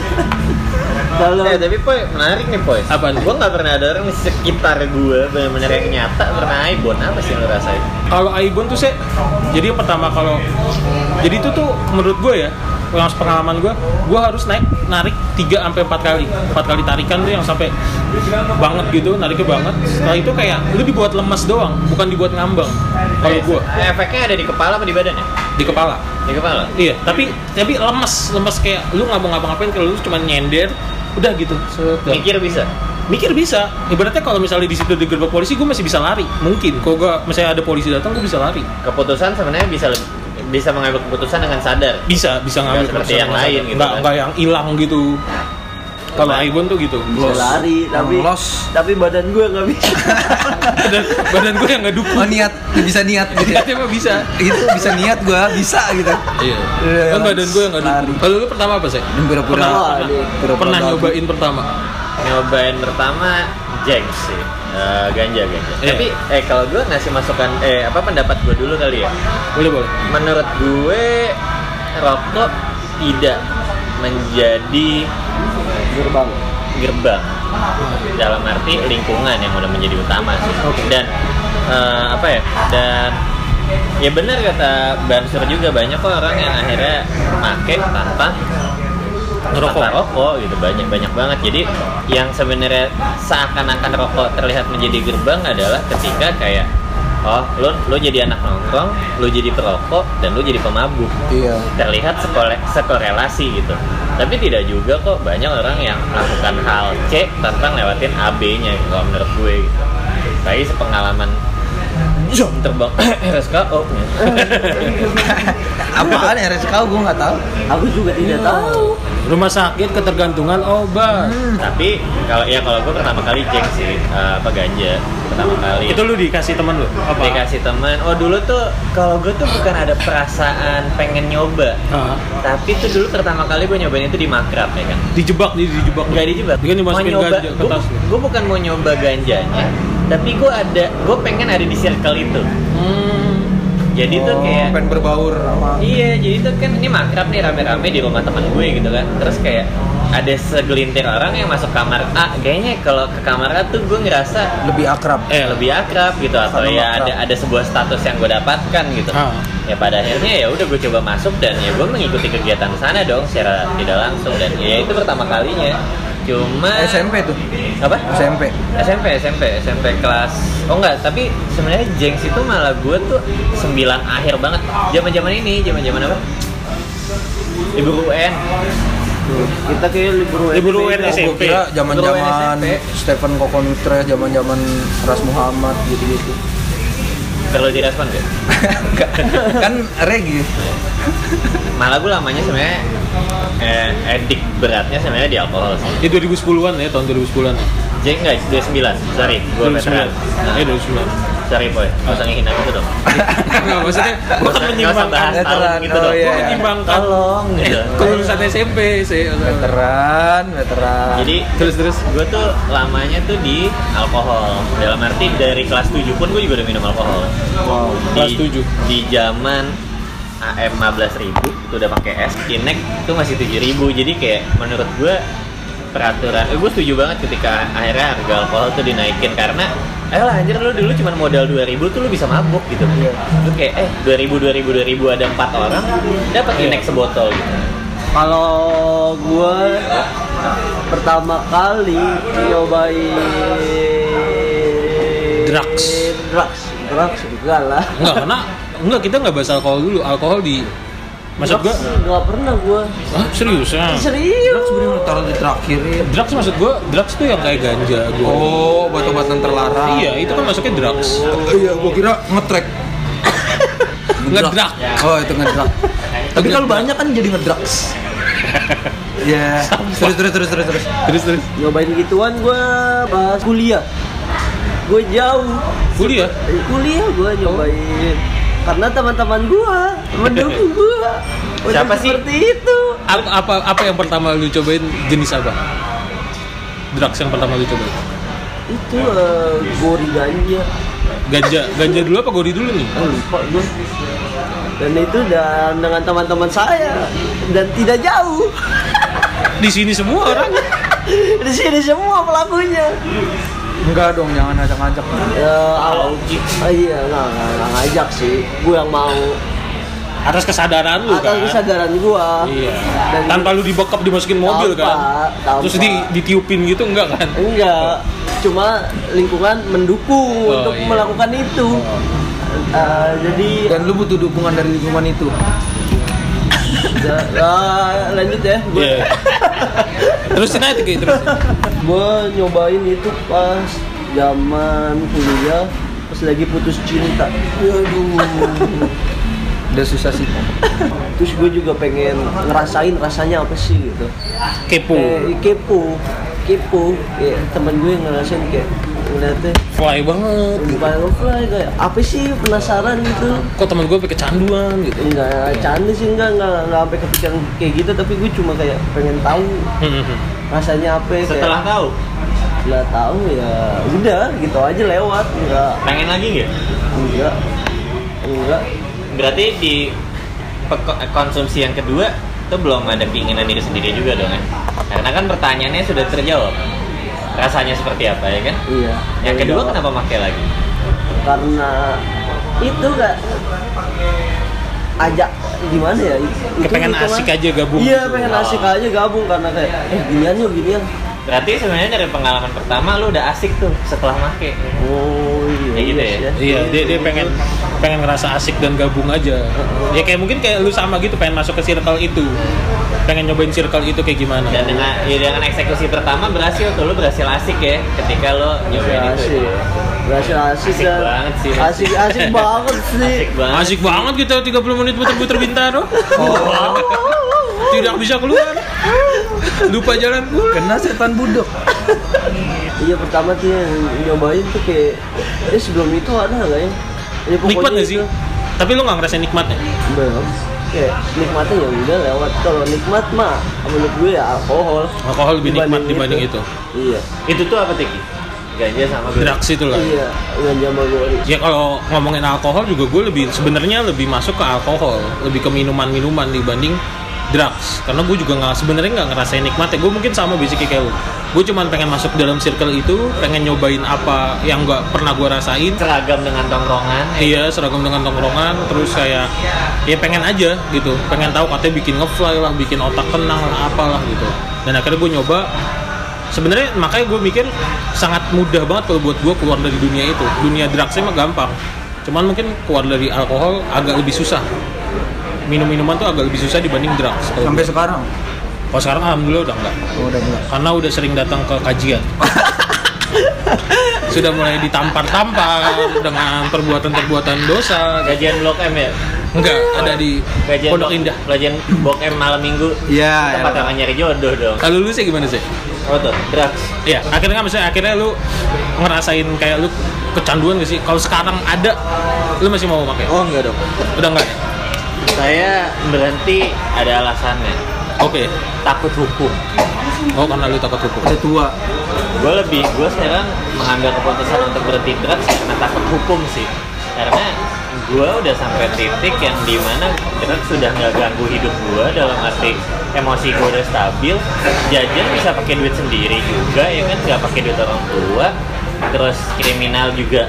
Speaker 3: Dolok.
Speaker 4: Eh tapi Poy, menarik nih Poy
Speaker 1: Apaan?
Speaker 4: Gue gak pernah ada orang di sekitar gue Bener-bener yang nyata pernah Ibon Apa sih yang lo rasain?
Speaker 1: kalau Aibon tuh sih jadi yang pertama kalau jadi itu tuh menurut gue ya yang pengalaman gue gue harus naik narik 3 sampai 4 kali 4 kali tarikan tuh yang sampai banget gitu nariknya banget setelah itu kayak lu dibuat lemas doang bukan dibuat ngambang kalau gue
Speaker 4: Eh, Efeknya ada di kepala apa di badan ya?
Speaker 1: di kepala
Speaker 4: Di kepala?
Speaker 1: iya tapi tapi lemas lemas kayak lu nggak mau ngapa-ngapain kalau lu cuma nyender udah gitu set, dah.
Speaker 4: Mikir bisa?
Speaker 1: mikir bisa ibaratnya kalau misalnya di situ digerbek polisi gue masih bisa lari mungkin kalau gue misalnya ada polisi datang gue bisa lari
Speaker 4: Keputusan sebenarnya bisa lebih- bisa mengambil keputusan dengan sadar
Speaker 1: bisa bisa ngambil
Speaker 4: Nggak seperti
Speaker 1: keputusan
Speaker 4: yang
Speaker 1: rumah
Speaker 4: lain
Speaker 1: sakit.
Speaker 4: gitu
Speaker 1: nggak
Speaker 4: kan. Nah.
Speaker 1: nggak yang hilang gitu kalau Aibon tuh gitu
Speaker 3: Bisa lari tapi
Speaker 2: Yang los.
Speaker 3: tapi badan gue nggak bisa.
Speaker 1: badan badan gue yang nggak
Speaker 2: Oh
Speaker 1: dukung
Speaker 4: Iya.
Speaker 2: niat, bisa niat gitu. ya.
Speaker 1: niatnya mah bisa
Speaker 2: Itu bisa niat gua bisa gitu.
Speaker 1: iya
Speaker 2: Iya,
Speaker 1: kan badan gue yang nggak dukung
Speaker 2: lari.
Speaker 1: kalau lu pertama apa sih
Speaker 2: Dan pura-pura
Speaker 1: pernah
Speaker 3: Wah, ini
Speaker 1: pernah,
Speaker 2: pura-pura
Speaker 1: pernah
Speaker 2: bagus.
Speaker 1: nyobain pertama
Speaker 4: Nyobain pertama Jack sih Eh, ganja ganja.
Speaker 1: Iya.
Speaker 4: Tapi eh kalau gue ngasih masukan eh apa pendapat gue dulu kali ya.
Speaker 1: boleh boleh
Speaker 4: menurut gue rokok tidak menjadi
Speaker 3: Gerbang.
Speaker 4: gerbang dalam arti lingkungan yang udah menjadi utama sih dan eh, apa ya dan ya benar kata Bansur juga banyak kok orang yang akhirnya pakai tanpa
Speaker 1: Ngerokok.
Speaker 4: tanpa rokok gitu banyak banyak banget jadi yang sebenarnya seakan-akan rokok terlihat menjadi gerbang adalah ketika kayak oh lo lo jadi anak nongkrong lo jadi perokok dan lo jadi pemabuk
Speaker 2: Iya.
Speaker 4: terlihat sekole- sekorelasi gitu tapi tidak juga kok banyak orang yang melakukan hal C tanpa lewatin AB-nya gitu, kalau menurut gue gitu tapi sepengalaman jom terbang RSKO
Speaker 2: Apaan RSKU gua nggak tahu.
Speaker 3: Aku juga tidak tahu.
Speaker 1: rumah sakit ketergantungan obat
Speaker 4: tapi kalau ya kalau gue pertama kali cek sih eh, apa ganja pertama kali
Speaker 1: itu lu dikasih teman lu apa
Speaker 4: dikasih teman oh dulu tuh kalau gue tuh bukan ada perasaan pengen nyoba
Speaker 1: Ah,
Speaker 4: tapi tuh dulu pertama kali gue nyobain itu di makrab ya kan
Speaker 1: dijebak nih dijebak
Speaker 4: nggak dijebak
Speaker 1: dia kan dimasukin ganja ke tas lu.
Speaker 4: gue bukan mau nyoba ganjanya tapi gue ada gue pengen ada di circle itu
Speaker 1: Hmm.
Speaker 4: jadi tuh
Speaker 2: Oh,
Speaker 4: kayak
Speaker 2: pengen berbaur sama
Speaker 4: Iya, jadi itu kan ini makrab nih rame-rame di rumah teman gue gitu kan. Terus kayak ada segelintir orang yang masuk kamar A. Kayaknya kalau ke kamar A tuh gue ngerasa
Speaker 2: lebih akrab.
Speaker 1: eh
Speaker 4: eh, lebih akrab gitu atau
Speaker 2: Karena
Speaker 4: ya
Speaker 2: akrab.
Speaker 4: ada ada sebuah status yang gue dapatkan gitu.
Speaker 1: Ah.
Speaker 4: Ya pada akhirnya ya udah gue coba masuk dan ya gue mengikuti kegiatan sana dong secara tidak langsung dan ya itu pertama kalinya cuma
Speaker 2: SMP tuh
Speaker 4: apa
Speaker 2: SMP
Speaker 4: SMP SMP SMP kelas oh enggak tapi sebenarnya jengs itu malah gue tuh 9 akhir banget zaman zaman ini zaman zaman apa libur UN
Speaker 3: Kita kayak libur UN.
Speaker 1: Libur UN
Speaker 3: Kita-
Speaker 2: Gue
Speaker 1: SMP.
Speaker 2: kira zaman zaman
Speaker 4: Dulu SMP.
Speaker 2: Stephen Kokontre, zaman zaman Ras Muhammad gitu-gitu.
Speaker 4: perlu direspon gak?
Speaker 2: kan regi.
Speaker 4: malah gue lamanya sebenarnya eh, edik beratnya sebenarnya di alkohol sih
Speaker 1: Ya 2010-an ya, tahun 2010-an. ya.
Speaker 4: Jeng guys 29 sorry gue
Speaker 1: 2009.
Speaker 4: veteran Nah,
Speaker 1: Ya 2009.
Speaker 4: sorry boy nggak usah ngehina gitu dong
Speaker 1: Enggak maksudnya gua kan
Speaker 4: Nggak usah- nggak usah
Speaker 1: menyimbangkan.
Speaker 4: bahas tahun
Speaker 2: Veteran,
Speaker 4: gitu
Speaker 2: oh
Speaker 4: dong
Speaker 2: iya,
Speaker 1: Gua
Speaker 2: iya.
Speaker 1: menyimbangkan.
Speaker 4: tolong gitu.
Speaker 1: Gua eh, lulusan SMP sih.
Speaker 4: Iya.
Speaker 2: Veteran, veteran.
Speaker 4: jadi
Speaker 1: Terus terus
Speaker 4: gue tuh lamanya tuh di alkohol dalam arti dari kelas 7 pun gue juga udah minum alkohol
Speaker 2: wow.
Speaker 1: Kelas
Speaker 4: Di-
Speaker 1: tujuh.
Speaker 4: di zaman AM 15.000 itu udah pakai es Kinek itu masih 7.000 jadi kayak menurut gue peraturan eh, gue setuju banget ketika akhirnya harga alkohol tuh dinaikin karena ayolah anjir lu dulu cuma modal 2.000 tuh lu bisa mabuk gitu
Speaker 2: Iya.
Speaker 4: lu kayak eh 2.000 2.000 2.000 ada empat orang dapat Kinek sebotol gitu
Speaker 3: Kalau gue pertama kali nyobain
Speaker 1: Drugs.
Speaker 3: drugs, drugs juga lah.
Speaker 1: enggak karena enggak kita enggak bahas alkohol dulu. Alkohol di maksud gua
Speaker 3: Drugs nggak pernah gue.
Speaker 1: Hah, serius ya?
Speaker 3: Serius.
Speaker 2: Drugs bener taruh di terakhirin.
Speaker 1: Drugs maksud gua, drugs tuh yang kayak ganja gua.
Speaker 2: Oh, obat-obatan terlarang.
Speaker 1: Iya, itu kan masuknya drugs.
Speaker 2: Eh, Iya, gua kira ngetrek.
Speaker 1: Ngedrak.
Speaker 2: Oh, itu ngedrak. Tapi kalau banyak kan jadi ngedrugs. Ya. Terus terus terus terus terus.
Speaker 1: Terus terus.
Speaker 3: Nyobain gituan gue pas kuliah. Gue jauh.
Speaker 1: Kuliah.
Speaker 3: Eh, Kuliah gue nyobain. Karena teman-teman gue mendukung gue. Udah
Speaker 4: Siapa sih?
Speaker 3: seperti itu.
Speaker 1: Apa, apa apa yang pertama lu cobain jenis apa? Drugs yang pertama lu cobain.
Speaker 3: Itu eh, gori ganja.
Speaker 1: Ganja, ganja dulu apa gori dulu nih?
Speaker 3: Oh, lupa gue. Dan itu dan dengan teman-teman saya dan tidak jauh
Speaker 1: Di sini semua orang.
Speaker 3: di sini semua pelakunya.
Speaker 2: Enggak dong, jangan ngajak-ngajak.
Speaker 3: Ya, awal- ah, iya nggak nggak nggak ngajak sih. Gue yang mau
Speaker 1: Atas kesadaran lu
Speaker 3: atas
Speaker 1: kan.
Speaker 3: kesadaran gue.
Speaker 1: Iya.
Speaker 3: Dan-
Speaker 1: Tanpa lu dibekap dimasukin mobil
Speaker 3: Tanpa,
Speaker 1: kan.
Speaker 3: tanpa.
Speaker 1: Terus di, ditiupin gitu enggak kan?
Speaker 3: Enggak, cuma lingkungan mendukung
Speaker 1: Oh,
Speaker 3: untuk
Speaker 1: iya. Oh.
Speaker 3: melakukan itu. Eh, jadi
Speaker 2: Dan lu butuh dukungan dari lingkungan itu.
Speaker 3: da- ah, lanjut ya, gue
Speaker 1: Iya. Terusin aja kayak terus.
Speaker 3: nyobain itu pas zaman kuliah pas lagi putus cinta. Aduh.
Speaker 2: Udah susah sih.
Speaker 3: Terus gue juga pengen ngerasain rasanya apa sih gitu.
Speaker 1: Kepo.
Speaker 3: Eh, kepo, kepo. Kayak temen gue yang ngerasain kayak ngeliatnya
Speaker 1: Fly banget.
Speaker 3: Bukan fly kayak apa sih penasaran gitu.
Speaker 1: Kok teman gue pakai canduan gitu.
Speaker 3: Enggak, canda sih enggak, enggak, enggak sampai kepikiran kayak gitu Tapi gue cuma kayak pengen tahu
Speaker 1: Hmm.
Speaker 3: rasanya apa
Speaker 1: Iya.
Speaker 3: kayak,
Speaker 4: setelah tahu
Speaker 3: Setelah tahu ya udah gitu aja lewat Enggak,
Speaker 4: pengen lagi nggak
Speaker 3: enggak, enggak
Speaker 4: berarti di peko- konsumsi yang kedua itu belum ada keinginan diri sendiri juga dong ya karena kan pertanyaannya sudah terjawab rasanya seperti apa ya kan
Speaker 3: Iya
Speaker 4: yang kedua
Speaker 3: Enggak.
Speaker 4: kenapa pakai lagi
Speaker 3: Karena itu enggak ajak gimana ya itu
Speaker 1: Kepengen
Speaker 3: gitu,
Speaker 1: asik
Speaker 3: Mas.
Speaker 1: aja gabung
Speaker 3: iya
Speaker 1: gitu.
Speaker 3: pengen
Speaker 4: Oh.
Speaker 3: asik aja gabung karena kayak eh ginian yuk ginian
Speaker 4: berarti sebenarnya dari pengalaman pertama lu udah asik tuh setelah make
Speaker 3: oh iya
Speaker 4: Kayak gitu
Speaker 3: iya
Speaker 4: ya?
Speaker 3: sih
Speaker 1: Iya, dia dia pengen pengen ngerasa asik dan gabung aja. Ya kayak mungkin kayak lu sama gitu pengen masuk ke circle itu. Pengen nyobain circle itu kayak gimana.
Speaker 4: dan dengan ya dengan eksekusi pertama berhasil tuh lu berhasil asik ya ketika lu nyobain itu
Speaker 3: Iya, asik berhasil asik
Speaker 4: gitu ya. Asik
Speaker 3: dan-
Speaker 4: banget sih, Mas.
Speaker 3: asik asik banget sih
Speaker 4: asik banget
Speaker 1: Asik banget kita 30 menit puter-puter bintaro.
Speaker 3: Oh,
Speaker 1: Tidak bisa keluar. Lupa jalan pulang.
Speaker 2: Kena setan budok.
Speaker 3: Iya pertama tuh yang nyobain tuh kayak eh sebelum itu ada nggak ya? Ya,
Speaker 1: Nikmat
Speaker 3: pokoknya
Speaker 1: gak sih?
Speaker 3: itu-
Speaker 1: Tapi lu gak ngerasain nikmatnya?
Speaker 3: Belum. Kayak nikmatnya ya udah lewat. Kalau nikmat mah menurut gue ya alkohol.
Speaker 1: Alkohol lebih nikmat dibanding itu.
Speaker 3: Iya.
Speaker 4: itu tuh apa tiki ganja sama gula.
Speaker 1: Drugs itu lah.
Speaker 3: Iya. Dengan jamal gue.
Speaker 1: Ya kalau ngomongin alkohol juga gue lebih sebenarnya lebih masuk ke alkohol, lebih ke minuman-minuman dibanding drugs. Karena gue juga nggak sebenarnya nggak ngerasain nikmatnya. Gue mungkin sama basicnya kayak lu. Gue cuman pengen masuk dalam circle itu, pengen nyobain apa yang nggak pernah gue rasain.
Speaker 4: seragam dengan tongkrongan ya.
Speaker 1: Iya, seragam dengan tongkrongan, terus kayak ya pengen aja gitu, pengen tahu katanya bikin ngefly lah, bikin otak tenang lah, apalah gitu. Dan akhirnya gue nyoba sebenarnya makanya gue mikir sangat mudah banget kalau buat gue keluar dari dunia itu dunia drugsnya mah gampang cuman mungkin keluar dari alkohol agak lebih susah minum-minuman tuh agak lebih susah dibanding drugs kalau
Speaker 2: sampai sekarang
Speaker 1: kalau sekarang alhamdulillah udah enggak
Speaker 2: oh, udah enggak
Speaker 1: karena udah sering datang ke kajian sudah mulai ditampar-tampar dengan perbuatan-perbuatan dosa
Speaker 4: Gajian Blok M ya?
Speaker 1: enggak ada di
Speaker 4: Gajian
Speaker 1: Pondok
Speaker 4: Blok-
Speaker 1: Indah
Speaker 4: Gajian Blok M malam minggu.
Speaker 2: Iya,
Speaker 4: Kita
Speaker 2: iya.
Speaker 4: pasangan nyari jodoh dong.
Speaker 1: kalau lu sih gimana sih
Speaker 4: Apa tuh? Drugs.
Speaker 1: Iya, akhirnya kan misalnya akhirnya lu ngerasain kayak lu kecanduan gak sih? Kalau sekarang ada, lu masih mau pakai?
Speaker 2: oh enggak dong
Speaker 1: Udah enggak ya?
Speaker 4: Saya berhenti ada alasannya.
Speaker 1: Oke.
Speaker 4: Takut hukum.
Speaker 1: Oh, karena lu takut hukum.
Speaker 2: udah tua
Speaker 4: Gue lebih, gue sekarang mengambil keputusan untuk berhenti drugs karena takut hukum sih. Karena gue udah sampai titik yang dimana drugs sudah nggak ganggu hidup gue dalam arti emosi gue udah stabil, jajan bisa pakai duit sendiri juga, ya kan nggak pakai duit orang tua, terus kriminal juga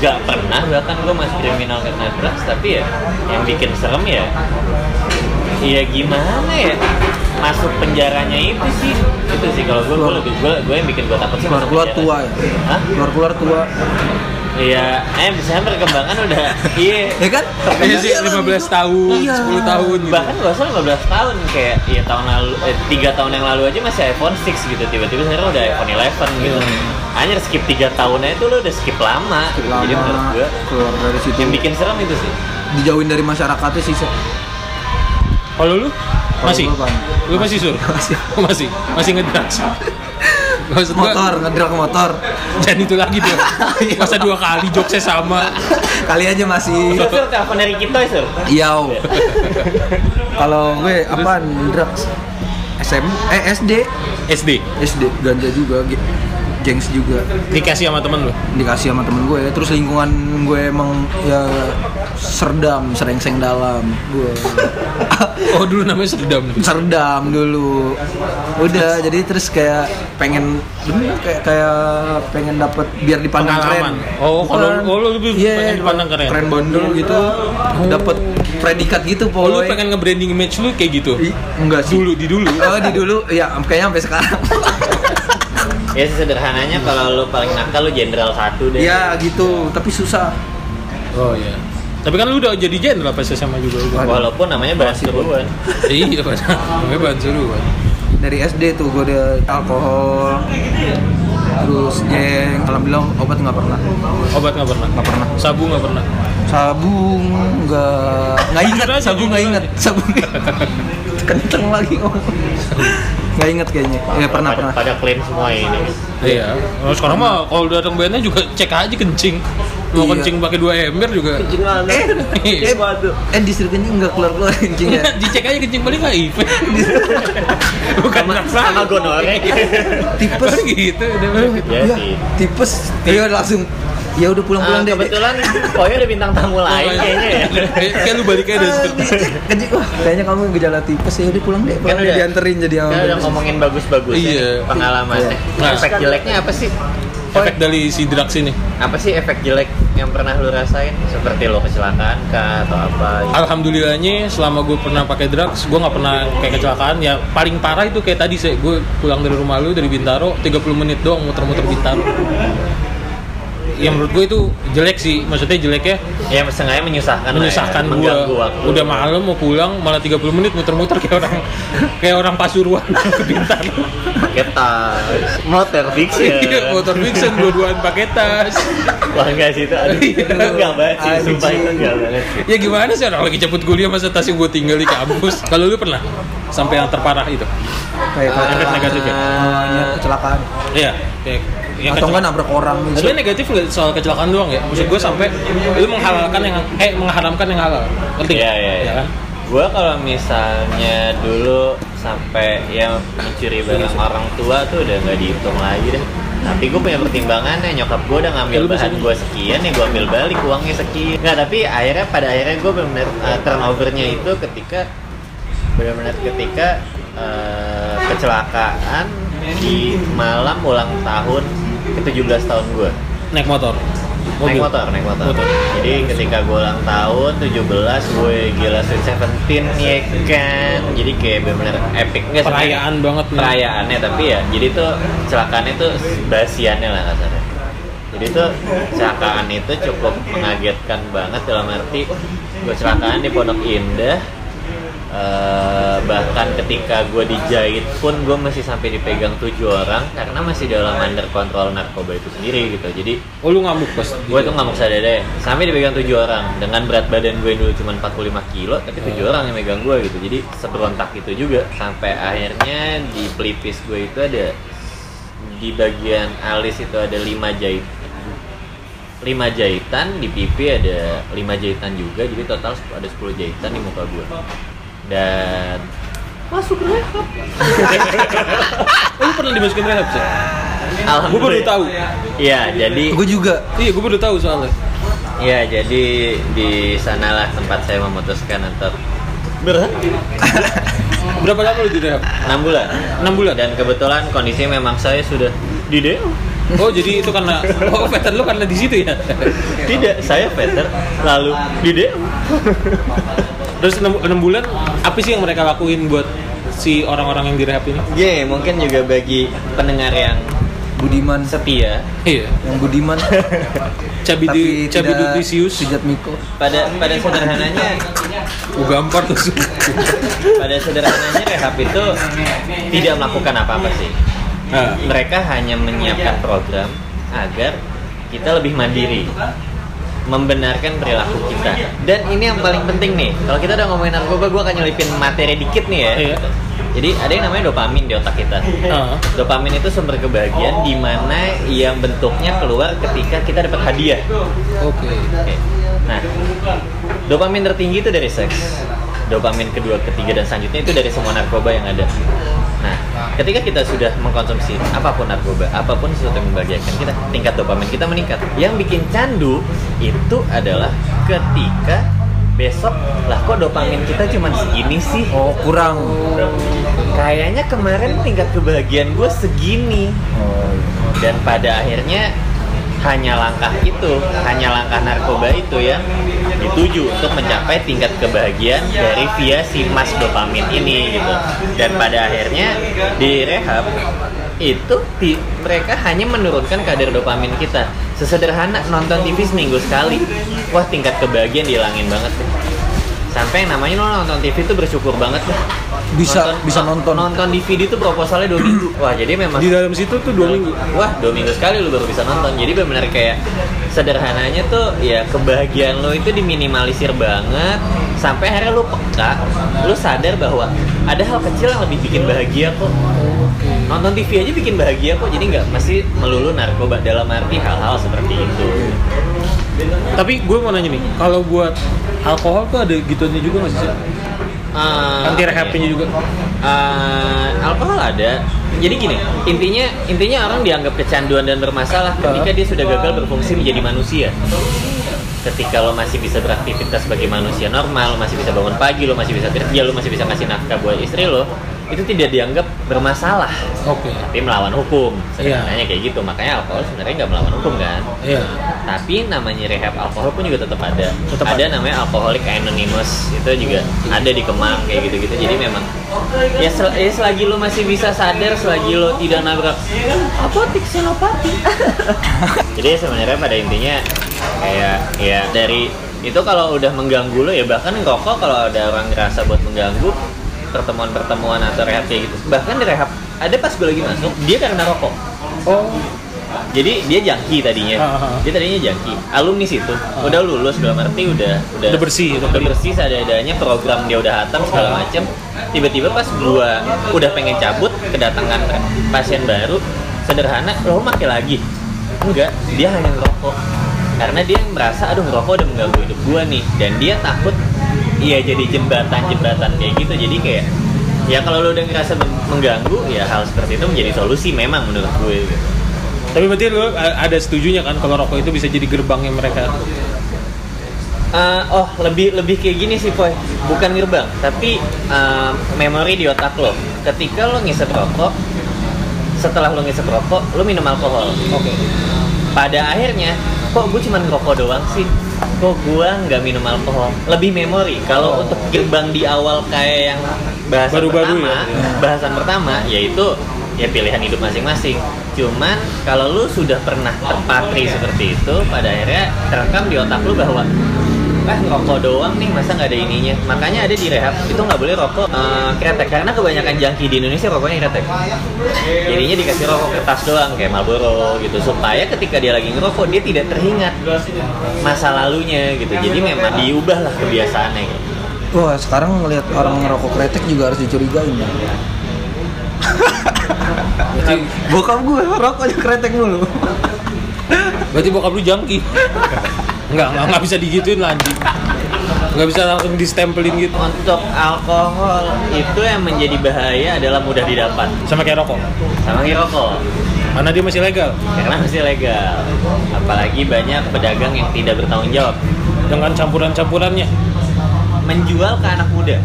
Speaker 4: nggak pernah bahkan gue masih kriminal karena drugs tapi ya yang bikin serem ya Iya gimana ya masuk penjaranya itu sih itu sih kalau gue gue lebih gue gue yang bikin gue takut sih
Speaker 2: keluar
Speaker 4: masuk
Speaker 2: keluar tua
Speaker 4: penjara.
Speaker 2: ya
Speaker 4: Hah?
Speaker 2: keluar keluar tua
Speaker 4: Iya eh misalnya perkembangan udah iya
Speaker 2: ya kan
Speaker 1: Iya sih, 15 tahun,
Speaker 2: Iya.
Speaker 1: 10 tahun gitu.
Speaker 4: bahkan gak usah 15 tahun kayak ya tahun lalu eh, 3 tahun yang lalu aja masih iPhone 6 gitu tiba-tiba sekarang udah iPhone 11 gitu
Speaker 2: Iya.
Speaker 4: anjir skip 3 tahunnya itu lo udah skip lama, gitu.
Speaker 2: lama
Speaker 4: jadi menurut gue
Speaker 2: keluar dari situ
Speaker 4: yang bikin serem itu sih
Speaker 2: dijauhin dari masyarakatnya sih Sa.
Speaker 1: Kalau lu masih?
Speaker 2: gua, Bang.
Speaker 1: Lu masih sur?
Speaker 2: Masih.
Speaker 1: masih. Masih ngedrugs. Maksud gua,
Speaker 2: motor ngedrak motor
Speaker 1: jangan itu lagi deh. Masa dua kali jokesnya sama.
Speaker 2: kali aja masih
Speaker 4: Sur, sur, telepon dari kita sur
Speaker 2: Yau. Kalau gue apaan drugs? SM eh SD,
Speaker 1: SD
Speaker 2: SD ganja juga, ge- gengs juga
Speaker 1: dikasih sama temen lu.
Speaker 2: dikasih sama temen gue ya. terus lingkungan gue emang ya serdam serengseng dalam gue
Speaker 1: Oh, dulu namanya Serdam.
Speaker 2: serdam dulu udah jadi terus kayak pengen bener kayak kayak pengen dapet biar dipandang
Speaker 1: Pengalaman.
Speaker 2: keren
Speaker 1: Oh, kalau- oh, lu lebih
Speaker 2: Iya,
Speaker 1: pengen dipandang keren.
Speaker 2: keren bondol gitu dapet predikat gitu
Speaker 1: Oh, lu
Speaker 2: pokoknya.
Speaker 1: pengen nge-branding image lu kayak gitu.
Speaker 2: Ih, enggak sih.
Speaker 1: Dulu, di dulu.
Speaker 2: Oh, di dulu. Ya, kayaknya sampai sekarang.
Speaker 4: ya sederhananya kalau lu paling nakal lu jenderal satu deh
Speaker 1: Iya.
Speaker 2: ya, gitu. Tapi susah.
Speaker 1: Oh iya. Tapi kan lu udah jadi jenderal pas SMA juga. lu.
Speaker 2: Waduh.
Speaker 4: Walaupun namanya bahas seruan.
Speaker 1: iya, Pak. Namanya bahan seru, Pak.
Speaker 2: Dari SD tuh gue udah alkohol. Terus jeng, alhamdulillah obat nggak pernah.
Speaker 1: Obat nggak pernah.
Speaker 2: Nggak pernah.
Speaker 1: Sabu nggak pernah.
Speaker 2: Sabung nggak nggak
Speaker 4: Gitu
Speaker 2: inget,
Speaker 1: Jujur aja,
Speaker 2: sabung
Speaker 1: jujur
Speaker 2: nggak
Speaker 1: aja.
Speaker 2: inget, sabung nggak inget. kenceng lagi om. Nggak inget kayaknya. Ya pernah
Speaker 4: pada,
Speaker 2: pernah.
Speaker 4: Pada clean semua ini.
Speaker 1: Iya. Nah, sekarang mah kalau datang bandnya juga cek aja kencing. Mau
Speaker 2: Iya.
Speaker 1: kencing pakai dua ember juga.
Speaker 3: Jengan.
Speaker 2: Eh,
Speaker 1: Iya.
Speaker 3: Eh, batu.
Speaker 2: Eh distrik ini nggak keluar keluar kencing ya.
Speaker 1: Dicek aja kencing paling HIV. Bukan
Speaker 4: Sama
Speaker 1: nafsu.
Speaker 4: gonore.
Speaker 2: Tipes.
Speaker 1: gitu. udah.
Speaker 4: Ya
Speaker 2: Ya,
Speaker 4: sih.
Speaker 2: tipes. Ya udah langsung. Ya udah
Speaker 4: Ah,
Speaker 2: pulang-pulang deh. Dek.
Speaker 4: kebetulan Koyo ada bintang tamu lain kayaknya ya.
Speaker 1: Kayak kayak lu balik
Speaker 2: Iya,
Speaker 1: aja deh.
Speaker 2: Kecil, wah kayaknya kamu gejala tipes ya udah pulang deh pulang deh, dianterin jadi
Speaker 4: Kan
Speaker 2: sama
Speaker 4: udah
Speaker 2: dokter.
Speaker 4: ngomongin bagus-bagus ya,
Speaker 1: Iya.
Speaker 4: pengalamannya.
Speaker 1: Nah.
Speaker 4: efek jeleknya apa sih?
Speaker 1: Efek dari si drugs ini.
Speaker 4: Apa sih efek jelek yang pernah lu rasain? Seperti lo kecelakaan kah atau apa? gitu.
Speaker 1: Alhamdulillahnya selama gue pernah pakai drugs, gue nggak pernah kayak kecelakaan. Ya paling parah itu kayak tadi sih, gue pulang dari rumah lu dari Bintaro 30 menit doang muter-muter Bintaro. Ya menurut gue itu jelek sih, maksudnya jeleknya
Speaker 4: Ya sengaja menyusahkan. lah ya,
Speaker 1: menyusahkan gue.
Speaker 4: mengganggu waktu.
Speaker 1: Udah malam mau pulang malah 30 menit muter-muter kayak orang kayak orang Pasuruan ke Bintaro.
Speaker 4: pakai tas, motor fiction.
Speaker 1: Iya, motor Vixen dua-duaan pakai tas.
Speaker 4: Wah enggak sih itu, aduh,
Speaker 1: Iya.
Speaker 4: itu enggak banget sih, sumpah itu enggak banget sih.
Speaker 1: Ya gimana sih orang lagi cepet kuliah masa tas yang gue tinggal di kampus. Kalau lu pernah sampai yang terparah itu?
Speaker 2: kayak
Speaker 1: Efek negatif ya?
Speaker 2: kecelakaan, ya, kecelakaan.
Speaker 1: Iya, kayak ya
Speaker 2: atau
Speaker 1: kecelakaan.
Speaker 2: enggak nabrak orang gitu.
Speaker 1: Sebenarnya negatif nggak soal kecelakaan doang ya. Maksud gue sampai lu menghalalkan yang eh mengharamkan yang halal. Ngerti?
Speaker 4: Iya,
Speaker 1: nggak?
Speaker 4: iya,
Speaker 1: Ya
Speaker 4: iya.
Speaker 1: kan?
Speaker 4: Gua kalau misalnya dulu sampai ya mencuri
Speaker 1: Iya
Speaker 4: barang orang tua tuh udah nggak dihitung lagi deh. Tapi gue punya pertimbangannya, nyokap gue udah ngambil
Speaker 1: Ya, lu
Speaker 4: bahan
Speaker 1: bisa-
Speaker 4: gue sekian, ya gue ambil balik uangnya sekian. Nggak, tapi akhirnya pada akhirnya gue benar-benar uh, turnovernya itu ketika benar-benar ketika uh, kecelakaan di malam ulang tahun ke 17 tahun gue.
Speaker 1: Naik motor.
Speaker 4: naik
Speaker 1: Mobil.
Speaker 4: motor naik motor,
Speaker 1: Motor.
Speaker 4: jadi ketika gue ulang tahun 17 gue gila Sweet Seventeen ya kan jadi kayak bener-bener epic nggak sebenarnya?
Speaker 1: Perayaan banget nih.
Speaker 4: perayaannya tapi ya jadi tuh celakanya tuh basiannya lah kasarnya jadi tuh kecelakaan itu cukup mengagetkan banget dalam arti gue kecelakaan di Pondok Indah Eh, bahkan ketika gue dijahit pun gue masih sampai dipegang tujuh orang karena masih dalam under kontrol narkoba itu sendiri gitu jadi
Speaker 1: Oh lu ngamuk pas?
Speaker 4: gue tuh ngamuk sadede sampai dipegang tujuh orang dengan berat badan gue dulu cuma 45 kilo tapi
Speaker 1: Iya.
Speaker 4: tujuh orang yang megang gue gitu jadi seberontak itu juga sampai akhirnya di pelipis gue itu ada di bagian alis itu ada lima jahit lima jahitan di pipi ada lima jahitan juga jadi total sep- ada 10 jahitan di muka gue dan
Speaker 3: Masuk rekap.
Speaker 1: Oh, lu pernah dimasukin rehab sih?
Speaker 4: alhamdulillah
Speaker 1: Gue baru tahu.
Speaker 4: Iya, jadi
Speaker 2: Gue juga.
Speaker 1: Iya, gue baru tahu soalnya.
Speaker 4: Ya, jadi di sanalah tempat saya memutuskan untuk
Speaker 3: Berhenti.
Speaker 1: Berapa lama lu di rehab?
Speaker 4: 6 bulan.
Speaker 1: 6 bulan.
Speaker 4: Dan kebetulan kondisi memang saya sudah E
Speaker 3: Di DO.
Speaker 1: Oh, jadi itu karena oh pattern lu karena di situ ya.
Speaker 4: tidak saya veter lalu E
Speaker 3: Di DO.
Speaker 1: Terus 6, bulan apa sih yang mereka lakuin buat si orang-orang yang di rehab ini?
Speaker 4: Ye, mungkin juga bagi pendengar yang
Speaker 2: Budiman.
Speaker 4: setia
Speaker 1: Iya.
Speaker 2: Yang Budiman.
Speaker 1: Cabi di cabi dudisius.
Speaker 2: Sejat Miko.
Speaker 4: pada pada sederhananya
Speaker 1: Gue gampar tuh.
Speaker 4: pada sederhananya rehab itu tidak melakukan apa-apa sih.
Speaker 1: Nah,
Speaker 4: Mereka hanya menyiapkan program agar kita lebih mandiri membenarkan perilaku kita dan ini yang paling penting nih kalau kita udah ngomongin narkoba gue akan nyelipin materi dikit nih ya
Speaker 1: Iya.
Speaker 4: jadi ada yang namanya dopamin di otak kita
Speaker 1: Ah.
Speaker 4: dopamin itu sumber kebahagiaan di mana yang bentuknya keluar ketika kita dapat hadiah
Speaker 1: Oke.
Speaker 4: Oke. nah dopamin tertinggi itu dari seks dopamin kedua ketiga dan selanjutnya itu dari semua narkoba yang ada nah ketika kita sudah mengkonsumsi apapun narkoba apapun sesuatu yang membahagiakan kita tingkat dopamin kita meningkat yang bikin candu itu adalah ketika besok lah kok dopamin kita cuman segini sih
Speaker 2: Oh kurang.
Speaker 4: kayaknya kemarin tingkat kebahagiaan gue segini dan pada akhirnya hanya langkah itu hanya langkah narkoba itu yang dituju untuk mencapai tingkat kebahagiaan dari via si mas dopamin ini gitu dan pada akhirnya di rehab itu ti- mereka hanya menurunkan kadar dopamin kita sesederhana nonton TV seminggu sekali wah tingkat kebahagiaan dihilangin banget deh. sampai yang namanya lo nonton TV itu bersyukur banget deh.
Speaker 2: Bisa- bisa nonton.
Speaker 4: nonton DVD itu proposalnya dua minggu wah jadi memang
Speaker 1: Di dalam situ tuh dua minggu.
Speaker 4: Wah, dua minggu sekali lu baru bisa nonton. Jadi benar-benar kayak sederhananya tuh ya kebahagiaan lu itu diminimalisir banget sampai akhirnya lu peka, lu sadar bahwa ada hal kecil yang lebih bikin bahagia kok. Nonton TV aja bikin bahagia kok. Jadi nggak mesti melulu narkoba dalam arti hal-hal seperti itu.
Speaker 1: Tapi gue mau nanya nih, kalau buat alkohol tuh ada gituannya juga nggak sih? Cak?
Speaker 4: Ah,
Speaker 1: Anti rehabnya juga.
Speaker 4: Eh, alkohol ada. Jadi gini, intinya intinya orang dianggap kecanduan dan bermasalah ketika dia sudah gagal berfungsi menjadi manusia. Ketika lo masih bisa beraktivitas sebagai manusia normal, lo masih bisa bangun pagi, lo masih bisa kerja, lo masih bisa kasih nafkah buat istri lo, itu tidak dianggap bermasalah.
Speaker 1: Oke.
Speaker 4: Tapi melawan hukum,
Speaker 1: Iya.
Speaker 4: sederhananya kayak gitu. Makanya alkohol sebenarnya nggak melawan hukum kan.
Speaker 1: Iya.
Speaker 4: Tapi namanya rehab alkohol pun juga tetap ada.
Speaker 1: Tetap
Speaker 4: ada, namanya alkoholik anonymous itu juga ada di Kemang kayak gitu-gitu. Jadi memang ya, sel- ya selagi lo masih bisa sadar, selagi lo tidak nabrak apotik senopati. Jadi sebenarnya pada intinya kayak ya dari itu kalau udah mengganggu lo ya bahkan ngerokok kalau ada orang ngerasa buat mengganggu pertemuan-pertemuan atau rehab kayak gitu bahkan di rehab ada pas gue lagi masuk dia karena rokok
Speaker 1: Oh.
Speaker 4: jadi dia jangki tadinya
Speaker 1: Ah, ah, ah.
Speaker 4: dia tadinya jangki alumni situ udah lulus dalam arti udah udah,
Speaker 1: Udah bersih, udah Ah.
Speaker 4: udah bersih seadanya program dia udah hatam segala macem tiba-tiba pas gua udah pengen cabut kedatangan pasien baru sederhana lo makai lagi enggak dia hanya ngerokok karena dia merasa aduh ngerokok udah mengganggu hidup gua nih dan dia takut iya jadi jembatan-jembatan kayak gitu jadi kayak ya kalau lo udah ngerasa mengganggu ya hal seperti itu menjadi solusi memang menurut gue gitu.
Speaker 1: Tapi berarti lu eh, ada setujunya kan kalau rokok itu bisa jadi gerbangnya mereka?
Speaker 4: Eh, oh lebih lebih kayak gini sih Boy bukan gerbang tapi eh, memori di otak lo ketika lo ngisep rokok setelah lo ngisep rokok lo minum alkohol
Speaker 1: Oke.
Speaker 4: pada akhirnya kok gue cuman ngerokok doang sih kok gue nggak minum alkohol lebih memori kalau untuk gerbang di awal kayak yang bahasan
Speaker 1: Oh. Baru-baru
Speaker 4: pertama
Speaker 1: ya?
Speaker 4: bahasan pertama yaitu ya pilihan hidup masing-masing cuman kalau lu sudah pernah terpatri seperti itu pada akhirnya terekam di otak lu bahwa eh ngerokok doang nih masa nggak ada ininya makanya ada di rehab itu nggak boleh rokok eh, kretek karena kebanyakan jangki di Indonesia rokoknya kretek jadinya dikasih rokok kertas doang kayak Marlboro gitu supaya ketika dia lagi ngerokok dia tidak teringat masa lalunya gitu jadi memang diubahlah kebiasaannya gitu.
Speaker 2: Wah sekarang ngelihat orang ngerokok kretek juga harus dicurigain ya.
Speaker 1: Kan-
Speaker 2: Bokap gue rokoknya kretek mulu.
Speaker 1: Berarti bokap lu jangki. Enggak, enggak, enggak bisa digituin lah anjing. Enggak bisa langsung distempelin gitu.
Speaker 4: untuk alkohol itu yang menjadi bahaya adalah mudah didapat
Speaker 1: Sama kayak rokok.
Speaker 4: sama kayak rokok
Speaker 1: Karena dia masih legal.
Speaker 4: karena masih legal apalagi banyak pedagang yang tidak bertanggung jawab
Speaker 1: Dengan campuran-campurannya.
Speaker 4: menjual ke anak muda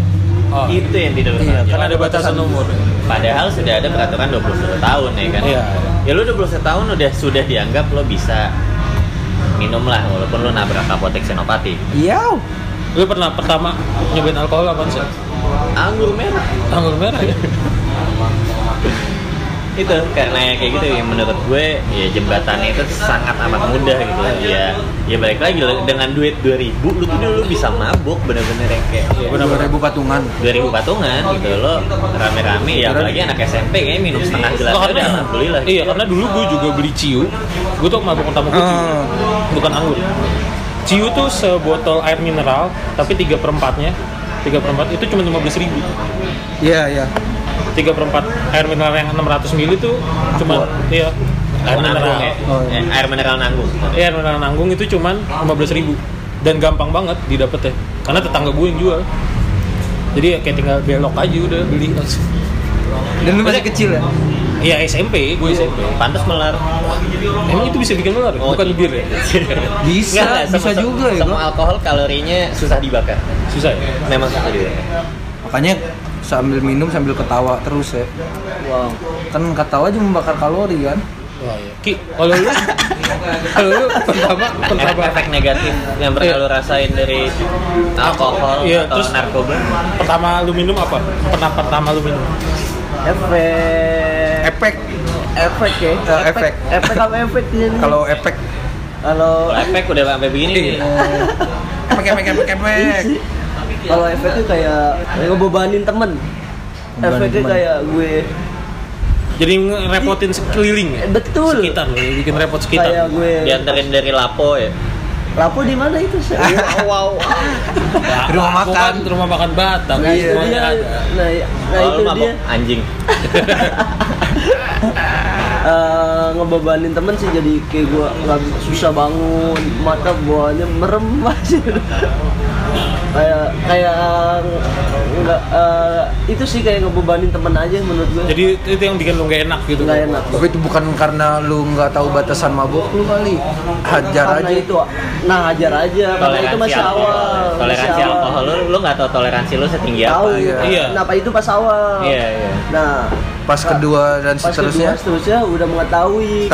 Speaker 1: Oh.
Speaker 4: itu yang tidak bertanggung jawab
Speaker 1: Kan ada batasan umur.
Speaker 4: Padahal sudah ada peraturan 21 tahun ya kan.
Speaker 1: Iya.
Speaker 4: Ya lu 21 tahun udah sudah dianggap lo bisa minum lah walaupun lo nabrak apotek senopati.
Speaker 2: Iya.
Speaker 1: Lu pernah pertama nyobain alkohol apa sih?
Speaker 4: Anggur merah.
Speaker 1: Anggur merah ya?
Speaker 4: Itu karena ya kayak gitu ya menurut gue ya jembatannya itu sangat amat mudah gitu kan. Ya ya balik lagi lo, dengan duit 2000 lu tuh dulu bisa mabuk bener-bener yang kayak
Speaker 2: Benar-benar ribu patungan.
Speaker 4: 2000 patungan gitu lo rame-rame ya apalagi anak SMP kayaknya minum setengah gelas aja udah Ya, alhamdulillah
Speaker 1: Iya, karena dulu gue juga beli ciu. Gue tuh mabuk pertama gue ciu.
Speaker 2: Ah.
Speaker 1: Bukan anggur. Ciu tuh sebotol air mineral, tapi 3 per 4-nya. 3 per 4 itu cuma 15 ribu.
Speaker 2: Iya iya.
Speaker 1: 3 per 4 air mineral yang 600 ml itu cuma iya, air
Speaker 4: air
Speaker 1: mineral.
Speaker 4: nanggung ya
Speaker 2: Oh, iya.
Speaker 4: Eh, air mineral nanggung
Speaker 1: Iya, air mineral nanggung itu cuman 15 ribu. Dan gampang banget didapetnya. Karena tetangga gue yang jual. Jadi ya kayak tinggal belok aja udah beli langsung.
Speaker 2: Dan lu masih kecil ya?
Speaker 1: Iya SMP, gue SMP.
Speaker 4: pantas melar
Speaker 1: Emang itu bisa bikin ular, ya?
Speaker 4: Oh,
Speaker 1: bukan
Speaker 4: iya.
Speaker 1: bir ya?
Speaker 2: Bisa,
Speaker 4: Nggak, nggak,
Speaker 2: bisa
Speaker 4: semua-
Speaker 2: juga ya.
Speaker 4: semua
Speaker 2: Bang.
Speaker 4: alkohol kalorinya susah dibakar
Speaker 1: Susah ya?
Speaker 4: memang susah dibakar
Speaker 2: Makanya sambil minum sambil ketawa terus ya.
Speaker 3: Wow.
Speaker 2: Kan ketawa juga membakar kalori kan.
Speaker 1: Wah, iya. Ki, kalau lu kalau lu pertama pertama
Speaker 4: efek negatif yang pernah
Speaker 1: Iya.
Speaker 4: lo rasain dari alkohol
Speaker 1: Iya,
Speaker 4: atau
Speaker 1: terus-
Speaker 4: narkoba
Speaker 1: pertama lu minum apa? Pernah pertama lu minum.
Speaker 3: Efek.
Speaker 2: Efek.
Speaker 3: Efek ya.
Speaker 2: Eh, efek.
Speaker 3: Efek apa efeknya? nih?
Speaker 2: Kalau efek
Speaker 3: kalau
Speaker 4: Kalau efek udah sampai begini nih
Speaker 2: efek efek efek
Speaker 3: Iya
Speaker 2: efek.
Speaker 3: kalau efek tuh kayak ngebebanin temen.
Speaker 2: Ngebebanin
Speaker 3: Efeknya
Speaker 2: temen.
Speaker 3: kayak gue
Speaker 1: Jadi ngerepotin sekeliling ya?
Speaker 3: betul.
Speaker 1: Sekitar lu, bikin repot
Speaker 3: kayak
Speaker 1: sekitar.
Speaker 3: gue
Speaker 4: dianterin dari lapo ya
Speaker 3: lapo di mana itu sih? wow.
Speaker 1: Lah,
Speaker 2: Rumah
Speaker 1: aku kan
Speaker 2: makan.
Speaker 1: rumah makan Batam.
Speaker 3: Nah,
Speaker 2: Iya.
Speaker 3: itu
Speaker 1: semuanya
Speaker 3: dia.
Speaker 1: ada.
Speaker 3: Nah, iya. nah
Speaker 4: kalau
Speaker 3: itu
Speaker 4: lu mabok
Speaker 3: dia.
Speaker 4: anjing
Speaker 3: Eh, ngebebanin temen sih jadi kayak gue nggak bisa- susah bangun mata buahnya merem aja kayak kayak nggak eh, itu sih kayak ngebebanin temen aja menurut gue
Speaker 1: Jadi itu yang bikin lu gak enak gitu.
Speaker 3: nggak enak
Speaker 2: Tapi itu bukan karena lu nggak tahu batasan mabuk lu kali. Hajar
Speaker 3: karena
Speaker 2: aja.
Speaker 3: itu nah hajar aja karena itu
Speaker 4: toleransi
Speaker 3: masih
Speaker 4: alkohol
Speaker 3: awal
Speaker 4: toleransi
Speaker 3: masih awal.
Speaker 4: alkohol lu lu nggak tau toleransi lu setinggi
Speaker 3: tahu
Speaker 4: apa gitu.
Speaker 2: iya.
Speaker 1: Iya.
Speaker 3: kenapa itu pas awal
Speaker 4: iya iya
Speaker 3: nah
Speaker 2: Pas kedua dan
Speaker 3: pas kedua
Speaker 2: seterusnya.
Speaker 3: seterusnya udah mengetahui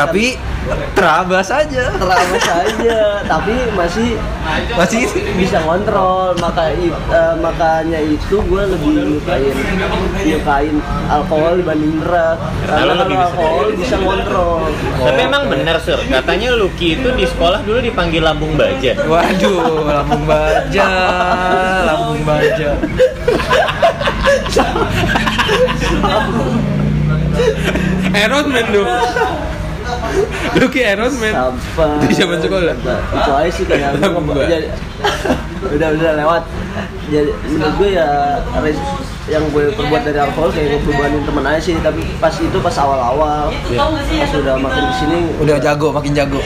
Speaker 2: ya? Tapi terabas aja.
Speaker 3: lama saja tapi masih
Speaker 2: Masih
Speaker 3: bisa kontrol maka i- eh, makanya itu gue lebih nyukain nyukain alkohol dibanding berat
Speaker 4: Karena
Speaker 3: karena
Speaker 4: lo lebih
Speaker 3: kalau
Speaker 4: bisa Oh.
Speaker 3: alkohol bisa kontrol
Speaker 4: Tapi emang bener sur, katanya Lucky itu di sekolah dulu dipanggil lambung baja.
Speaker 2: Waduh, lambung baja, lambung baja.
Speaker 1: Iron Man dong. Lu ki Iron Man.
Speaker 3: Sampah.
Speaker 1: Di zaman sekolah?
Speaker 3: Nah, itu aja sih kayak
Speaker 1: Lambung baja.
Speaker 3: jadi udah udah lewat jadi menurut gue ya res- yang gue perbuat dari alkohol kayak gue perubahanin temen aja sih tapi pas itu pas awal-awal pas udah makin kesini
Speaker 2: Udah jago, makin jago.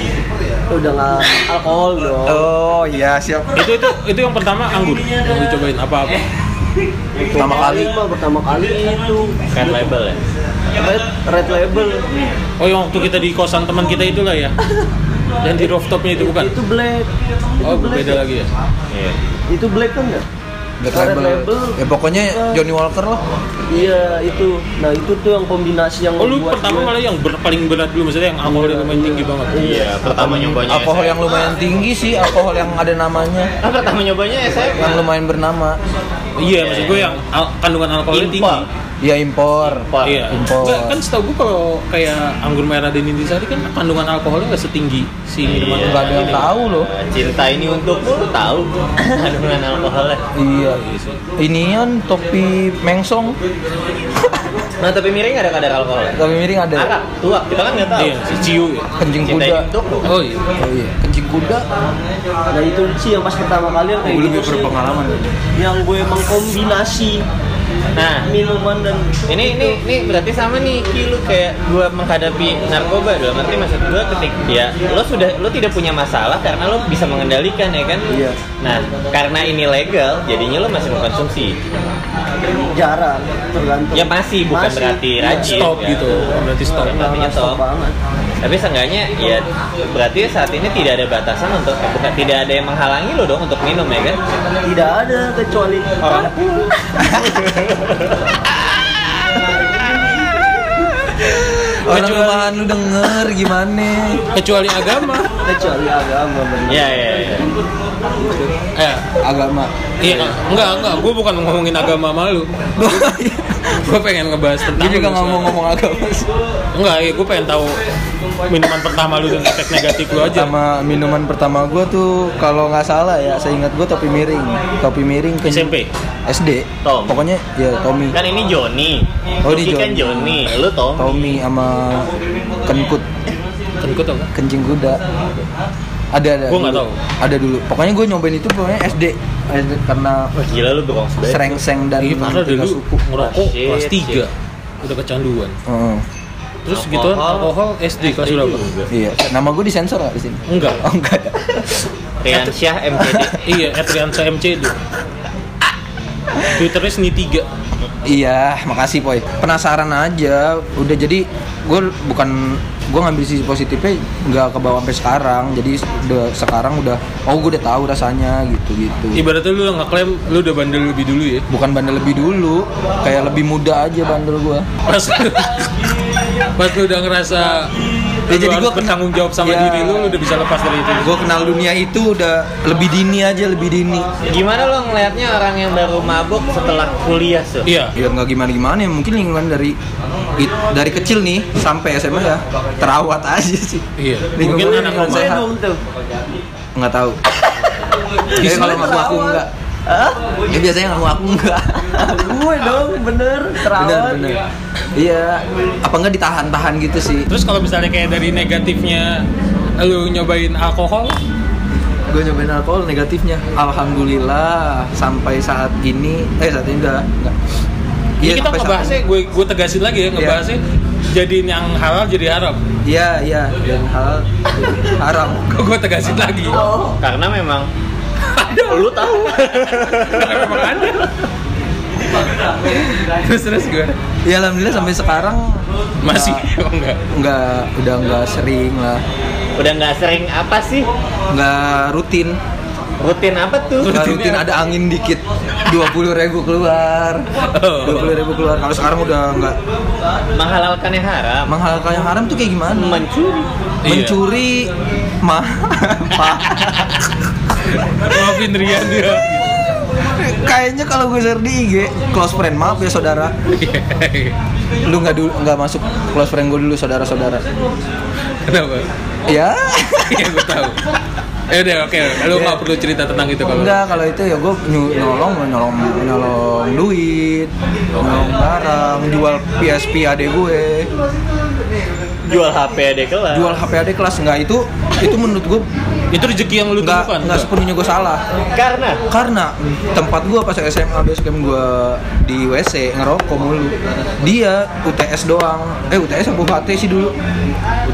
Speaker 3: udah nggak alkohol dong
Speaker 2: Oh iya siap.
Speaker 1: Itu itu itu yang pertama anggur. Yang lu cobain apa-apa.
Speaker 3: Eh.
Speaker 2: Pertama kali.
Speaker 3: mah Iya, pertama kali itu
Speaker 4: Red label ya.
Speaker 3: red red label
Speaker 1: Oh, yang waktu kita di kosan teman kita itulah ya. Dan di rooftopnya itu bukan.
Speaker 3: itu black itu
Speaker 1: Oh,
Speaker 3: black
Speaker 1: beda lagi ya.
Speaker 4: Iya.
Speaker 3: itu black kan ya
Speaker 2: Black
Speaker 3: Red
Speaker 2: label.
Speaker 3: Label.
Speaker 2: Ya pokoknya
Speaker 3: Apa?
Speaker 2: Johnny Walker lah.
Speaker 3: Iya itu. Nah itu tuh yang kombinasi yang
Speaker 1: Oh lu
Speaker 3: ngebuat
Speaker 1: pertama
Speaker 3: gue-
Speaker 1: malah yang ber- paling berat dulu maksudnya yang alkoholnya
Speaker 3: Iya,
Speaker 1: lumayan
Speaker 3: iya.
Speaker 1: tinggi banget.
Speaker 4: Iya, pertama nyobanya
Speaker 2: Alkohol
Speaker 4: SMA.
Speaker 2: yang lumayan tinggi sih, alkohol yang ada namanya,
Speaker 4: Ah, pertama nyobanya SMA.
Speaker 2: yang lumayan bernama.
Speaker 1: Iya maksud gue yang al- kandungan alkoholnya
Speaker 4: Impor.
Speaker 1: tinggi.
Speaker 2: Ya impor.
Speaker 4: Impor.
Speaker 1: Iya.
Speaker 2: Impor.
Speaker 1: Nggak, kan setahu gue kalau kayak anggur merah dan Intisari kan kandungan alkoholnya nggak setinggi si minuman
Speaker 4: Iya.
Speaker 2: Gak ada yang tahu loh.
Speaker 4: Cinta ini untukmu lu tahu kandungan alkoholnya.
Speaker 2: Iya. Inian topi mengsong,
Speaker 4: Nah, tapi miring ada kadar alkoholnya.
Speaker 2: tapi miring
Speaker 4: Arak
Speaker 2: ada.
Speaker 4: tua, kita kan nggak tahu.
Speaker 1: Iya, si Ciu ya.
Speaker 2: Kencing
Speaker 4: Cinta ini
Speaker 2: kuda.
Speaker 4: untukmu.
Speaker 1: Oh iya.
Speaker 2: Oh iya, kencing kuda.
Speaker 3: Nah itu sih yang pas pertama kali yang kayak
Speaker 2: Gue
Speaker 3: gitu
Speaker 2: lebih
Speaker 3: sih.
Speaker 2: berpengalaman.
Speaker 3: Yang gue emang kombinasi
Speaker 4: Nah,
Speaker 3: minuman dan
Speaker 4: ini ini ini berarti sama nih Ki, lu kayak gua menghadapi narkoba dalam arti maksud gua ketik ya lo sudah lo tidak punya masalah karena lo bisa mengendalikan ya kan
Speaker 3: Iya.
Speaker 4: nah karena ini legal jadinya lo masih mengkonsumsi
Speaker 3: jarang tergantung.
Speaker 4: ya masih bukan
Speaker 3: Masih.
Speaker 4: berarti
Speaker 3: Iya,
Speaker 4: rajin
Speaker 1: Stop
Speaker 4: kan?
Speaker 1: gitu. Berarti stop.
Speaker 4: Bukan berarti
Speaker 3: Jarang
Speaker 4: stop
Speaker 3: banget.
Speaker 4: tapi seenggaknya ya berarti saat ini tidak ada batasan untuk eh, bukan tidak ada yang menghalangi lo dong untuk minum ya kan
Speaker 3: Tidak ada kecuali
Speaker 4: Orang.
Speaker 3: aku.
Speaker 2: Orang rumahan lu denger gimana?
Speaker 1: Kecuali agama.
Speaker 3: kecuali agama benar.
Speaker 4: ya ya, ya.
Speaker 1: Eh,
Speaker 2: Agama.
Speaker 1: iya, enggak, enggak. Gue bukan ngomongin agama malu. gue pengen ngebahas tentang
Speaker 2: Gue juga
Speaker 1: lu,
Speaker 2: ngomong-ngomong
Speaker 4: ya.
Speaker 2: agama sih.
Speaker 1: soalnya. Enggak, iya, gue pengen tahu minuman pertama lu dan efek negatif lu aja.
Speaker 2: Pertama minuman pertama gue tuh kalau nggak salah ya, saya ingat gue topi miring, topi miring ke
Speaker 1: SMP?
Speaker 2: SD.
Speaker 4: Tom.
Speaker 2: Pokoknya ya Tommy,
Speaker 4: kan ini Joni
Speaker 2: Oh, ini
Speaker 4: Lucky kan Joni
Speaker 2: Johnny.
Speaker 4: lu Tommy
Speaker 2: Tommy sama kenkut,
Speaker 1: Kan gue tau kan?
Speaker 2: kencing kuda. Ada ada.
Speaker 1: Gua nggak
Speaker 2: dulu.
Speaker 1: tahu.
Speaker 2: Ada dulu. Pokoknya gue nyobain itu pokoknya SD, SD karena
Speaker 4: Wah, gila lu berong banget
Speaker 2: serengseng dan
Speaker 1: Iya, parah
Speaker 2: tiga
Speaker 1: dulu
Speaker 2: suku.
Speaker 1: ngerokok
Speaker 4: Shit,
Speaker 1: kelas
Speaker 4: shit.
Speaker 1: 3 udah kecanduan.
Speaker 2: Heeh.
Speaker 1: Terus gitu kan alkohol SD kelas berapa?
Speaker 2: iya. Nama gue disensor nggak di sini?
Speaker 1: Enggak.
Speaker 2: Oh enggak ada.
Speaker 4: Rian Syah MCD
Speaker 1: Iya, Etriansa MCD. Twitternya seni tiga.
Speaker 2: Iya, makasih Poy. Penasaran aja. Udah jadi gue bukan gue ngambil sisi positifnya nggak ke bawah sampai sekarang. Jadi udah sekarang udah oh gue udah tahu rasanya gitu gitu.
Speaker 1: Ibaratnya lu nggak klaim lu udah bandel lebih dulu ya.
Speaker 2: Bukan bandel lebih dulu, kayak lebih muda aja bandel gue.
Speaker 1: Pas lu, pas lu udah ngerasa
Speaker 2: Ya,
Speaker 1: ya,
Speaker 2: jadi
Speaker 1: jadi
Speaker 2: gua
Speaker 1: gue bertanggung jawab sama
Speaker 2: Ya.
Speaker 1: diri lu, lu udah bisa lepas dari itu.
Speaker 2: Gue kenal dunia itu udah lebih dini aja lebih dini.
Speaker 4: gimana lo ngelihatnya orang yang baru mabuk setelah kuliah tuh
Speaker 1: Iya.
Speaker 2: Ya nggak gimana gimana ya mungkin lingkungan dari it- dari kecil nih sampai SMA ya terawat aja sih.
Speaker 1: Iya. Mungkin
Speaker 2: Lingkungan yang
Speaker 1: anak
Speaker 2: nggak
Speaker 1: rumah.
Speaker 2: sehat.
Speaker 3: Minum tuh.
Speaker 2: nggak tahu. Jadi kalau ngaku aku enggak.
Speaker 3: Hah?
Speaker 2: Ya biasanya ngaku aku enggak.
Speaker 3: gue dong bener terawat.
Speaker 2: bener bener. Iya. Apa enggak ditahan-tahan gitu sih?
Speaker 1: Terus kalau misalnya kayak dari negatifnya lu nyobain alkohol,
Speaker 2: Gue nyobain alkohol negatifnya. Alhamdulillah sampai saat ini eh saat ini udah enggak.
Speaker 1: ya, kita
Speaker 2: Iya, sampai saat-
Speaker 1: ngebahasnya gue gue tegasin lagi ya ngebahasnya jadiin yang halal jadi haram.
Speaker 2: Iya iya dan hal haram.
Speaker 1: Gue tegasin lagi.
Speaker 2: Oh.
Speaker 4: karena memang lu tahu
Speaker 1: Emang ada. terus terus gue
Speaker 2: Ya alhamdulillah sampai sekarang
Speaker 1: masih
Speaker 2: nggak-
Speaker 1: oh, enggak.
Speaker 2: nggak udah nggak sering lah
Speaker 4: udah nggak sering apa sih
Speaker 2: nggak rutin
Speaker 4: rutin apa tuh
Speaker 2: nggak rutin ada angin dikit 20.000 ribu keluar
Speaker 1: Oh.
Speaker 2: 20.000 ribu keluar kalau sekarang udah nggak
Speaker 4: menghalalkan yang haram
Speaker 2: menghalalkan yang haram tuh kayak gimana
Speaker 4: mencuri
Speaker 1: Iya.
Speaker 2: mencuri mah ma.
Speaker 1: Maafin Rian ya. dia.
Speaker 2: kayaknya kalau gue share di IG close friend maaf ya saudara
Speaker 1: Eh,
Speaker 2: lu nggak dulu nggak masuk close friend gue dulu saudara saudara
Speaker 1: Kenapa?
Speaker 2: ya
Speaker 1: Iya gue tahu. Ya udah oke, lu nggak perlu cerita tentang itu kalau.
Speaker 2: enggak kalau itu ya gue nyu- nyolong nyolong nyolong duit nyolong barang jual PSP adek gue
Speaker 4: jual HP ada kelas
Speaker 2: jual HP adek kelas nggak itu itu menurut gue
Speaker 1: Itu rezeki yang lu
Speaker 2: nggak
Speaker 1: temukan.
Speaker 2: nggak sepenuhnya gue salah
Speaker 4: karena
Speaker 2: karena tempat gua pas SMA basecamp gua di WC ngerokok mulu dia UTS doang eh UTS apa UHT sih dulu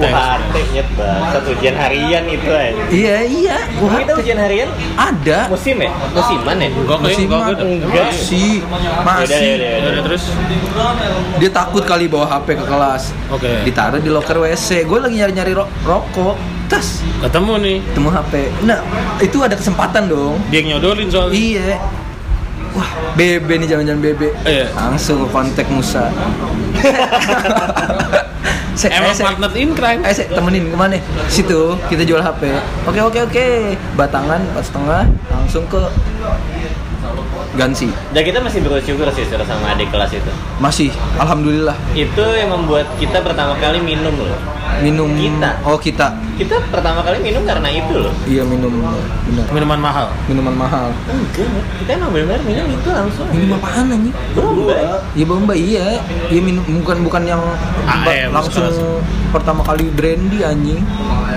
Speaker 4: UHT nyebar satu ujian harian itu aja
Speaker 2: iya iya
Speaker 4: kita
Speaker 2: UHT
Speaker 4: ujian harian
Speaker 2: ada
Speaker 4: musim ya musiman ya
Speaker 1: Enggak kayak
Speaker 2: masih
Speaker 1: enggak
Speaker 2: ma-
Speaker 1: gue.
Speaker 4: Enggak.
Speaker 2: masih
Speaker 4: Yaudah, yaudah,
Speaker 2: masih
Speaker 1: Ya udah
Speaker 4: yaudah.
Speaker 1: terus.
Speaker 2: dia takut kali bawa HP ke kelas
Speaker 1: Oke.
Speaker 2: ditaruh di locker WC gue lagi nyari-nyari ro- rokok tas
Speaker 1: Ketemu nih.
Speaker 2: ketemu HP nah itu ada kesempatan dong
Speaker 1: Dia yang nyodorin soalnya.
Speaker 2: Iya. wah bebe nih jangan-jangan bebe
Speaker 1: Iya.
Speaker 2: langsung kontak Musa Sek,
Speaker 1: Emang
Speaker 2: eh, Sek.
Speaker 1: partner in crime.
Speaker 2: Eh, Sek, temenin kemana? Situ, kita jual HP. Oke, oke, oke. Batangan, empat setengah, langsung ke Gansi.
Speaker 4: Dan kita masih bersyukur sih sudah sama adik kelas itu.
Speaker 2: Masih, alhamdulillah.
Speaker 4: Itu yang membuat kita pertama kali minum loh.
Speaker 2: Minum.
Speaker 4: Kita.
Speaker 2: Oh, kita.
Speaker 4: Kita pertama kali minum karena itu loh.
Speaker 2: Iya, minum. Benar.
Speaker 1: Minuman mahal.
Speaker 2: Minuman mahal.
Speaker 4: Enggak, kita emang benar minum itu langsung.
Speaker 2: Minum apaan anjing?
Speaker 4: Berubah.
Speaker 2: Ya Bamba iya. Ya minum bukan bukan yang
Speaker 1: AM
Speaker 2: ba- Ah, iya, langsung
Speaker 1: sekarang.
Speaker 2: pertama kali brandy anjing.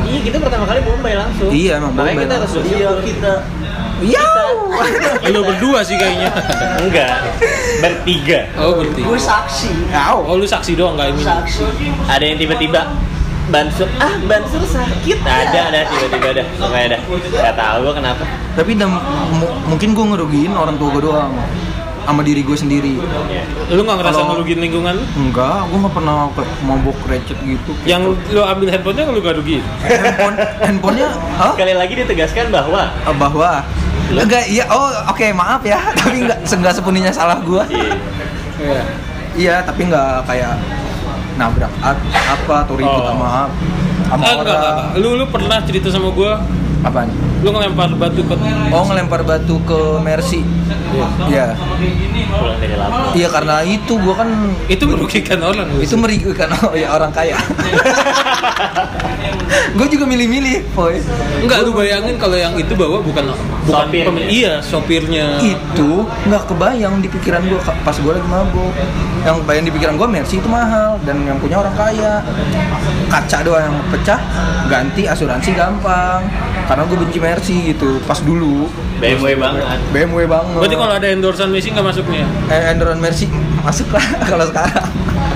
Speaker 4: Iya, kita pertama kali Bombay langsung.
Speaker 2: Iya, emang
Speaker 4: Makanya
Speaker 2: Bombay
Speaker 4: kita harus
Speaker 2: langsung.
Speaker 4: bersyukur.
Speaker 3: kita
Speaker 2: Iya.
Speaker 1: Lu berdua sih kayaknya.
Speaker 4: Enggak, bertiga.
Speaker 1: Oh, berarti.
Speaker 3: gue saksi
Speaker 1: Oh, lu saksi doang nggak minum.
Speaker 3: saksi
Speaker 4: Ada yang tiba-tiba Bansur, ah Bansur sakit Ada, ada, tiba-tiba ada Pokoknya ada Gak tau gue kenapa
Speaker 2: Tapi dan mu- mungkin gue ngerugiin orang tua gue doang sama diri gue sendiri.
Speaker 1: Lu nggak ngerasa
Speaker 2: Kalau-
Speaker 1: ngerugiin lingkungan lu?
Speaker 2: Enggak, gue nggak pernah ke- mabok recet gitu.
Speaker 1: Yang lu ambil handphonenya lu gak rugi.
Speaker 2: handphone handphonenya hah?
Speaker 4: Sekali lagi ditegaskan bahwa
Speaker 2: Eh, bahwa enggak iya oh oke maaf ya tapi enggak enggak sepenuhnya salah gua
Speaker 4: Iya.
Speaker 2: Iya. iya tapi enggak kayak nabrak at- apa atau
Speaker 1: Oh.
Speaker 2: ribut sama sama
Speaker 1: Ah, enggak, enggak,
Speaker 2: orang
Speaker 1: enggak. Lu lu pernah cerita sama gua,
Speaker 2: apa
Speaker 1: lu ngelempar batu ke
Speaker 2: oh ngelempar batu ke Mercy iya
Speaker 4: pulang dari lapor
Speaker 2: iya karena itu gua kan
Speaker 1: itu merugikan orang lu.
Speaker 2: itu merugikan oh, ya orang kaya gue juga milih-milih boy
Speaker 1: Enggak lu bayangin kalau yang itu bawa bukan bukan
Speaker 4: Sopirnya.
Speaker 1: pem- iya sopirnya.
Speaker 2: itu nggak kebayang di pikiran gue pas gue lagi mabuk yang bayang di pikiran gue Mercy itu mahal dan yang punya orang kaya kaca doang yang pecah ganti asuransi gampang karena gue benci Mercy gitu pas dulu
Speaker 4: BMW banget
Speaker 2: BMW banget
Speaker 1: Berarti kalau ada endorsean Messi nggak masuk nih ya?
Speaker 2: eh, Enduron Mercy masuk lah kalau sekarang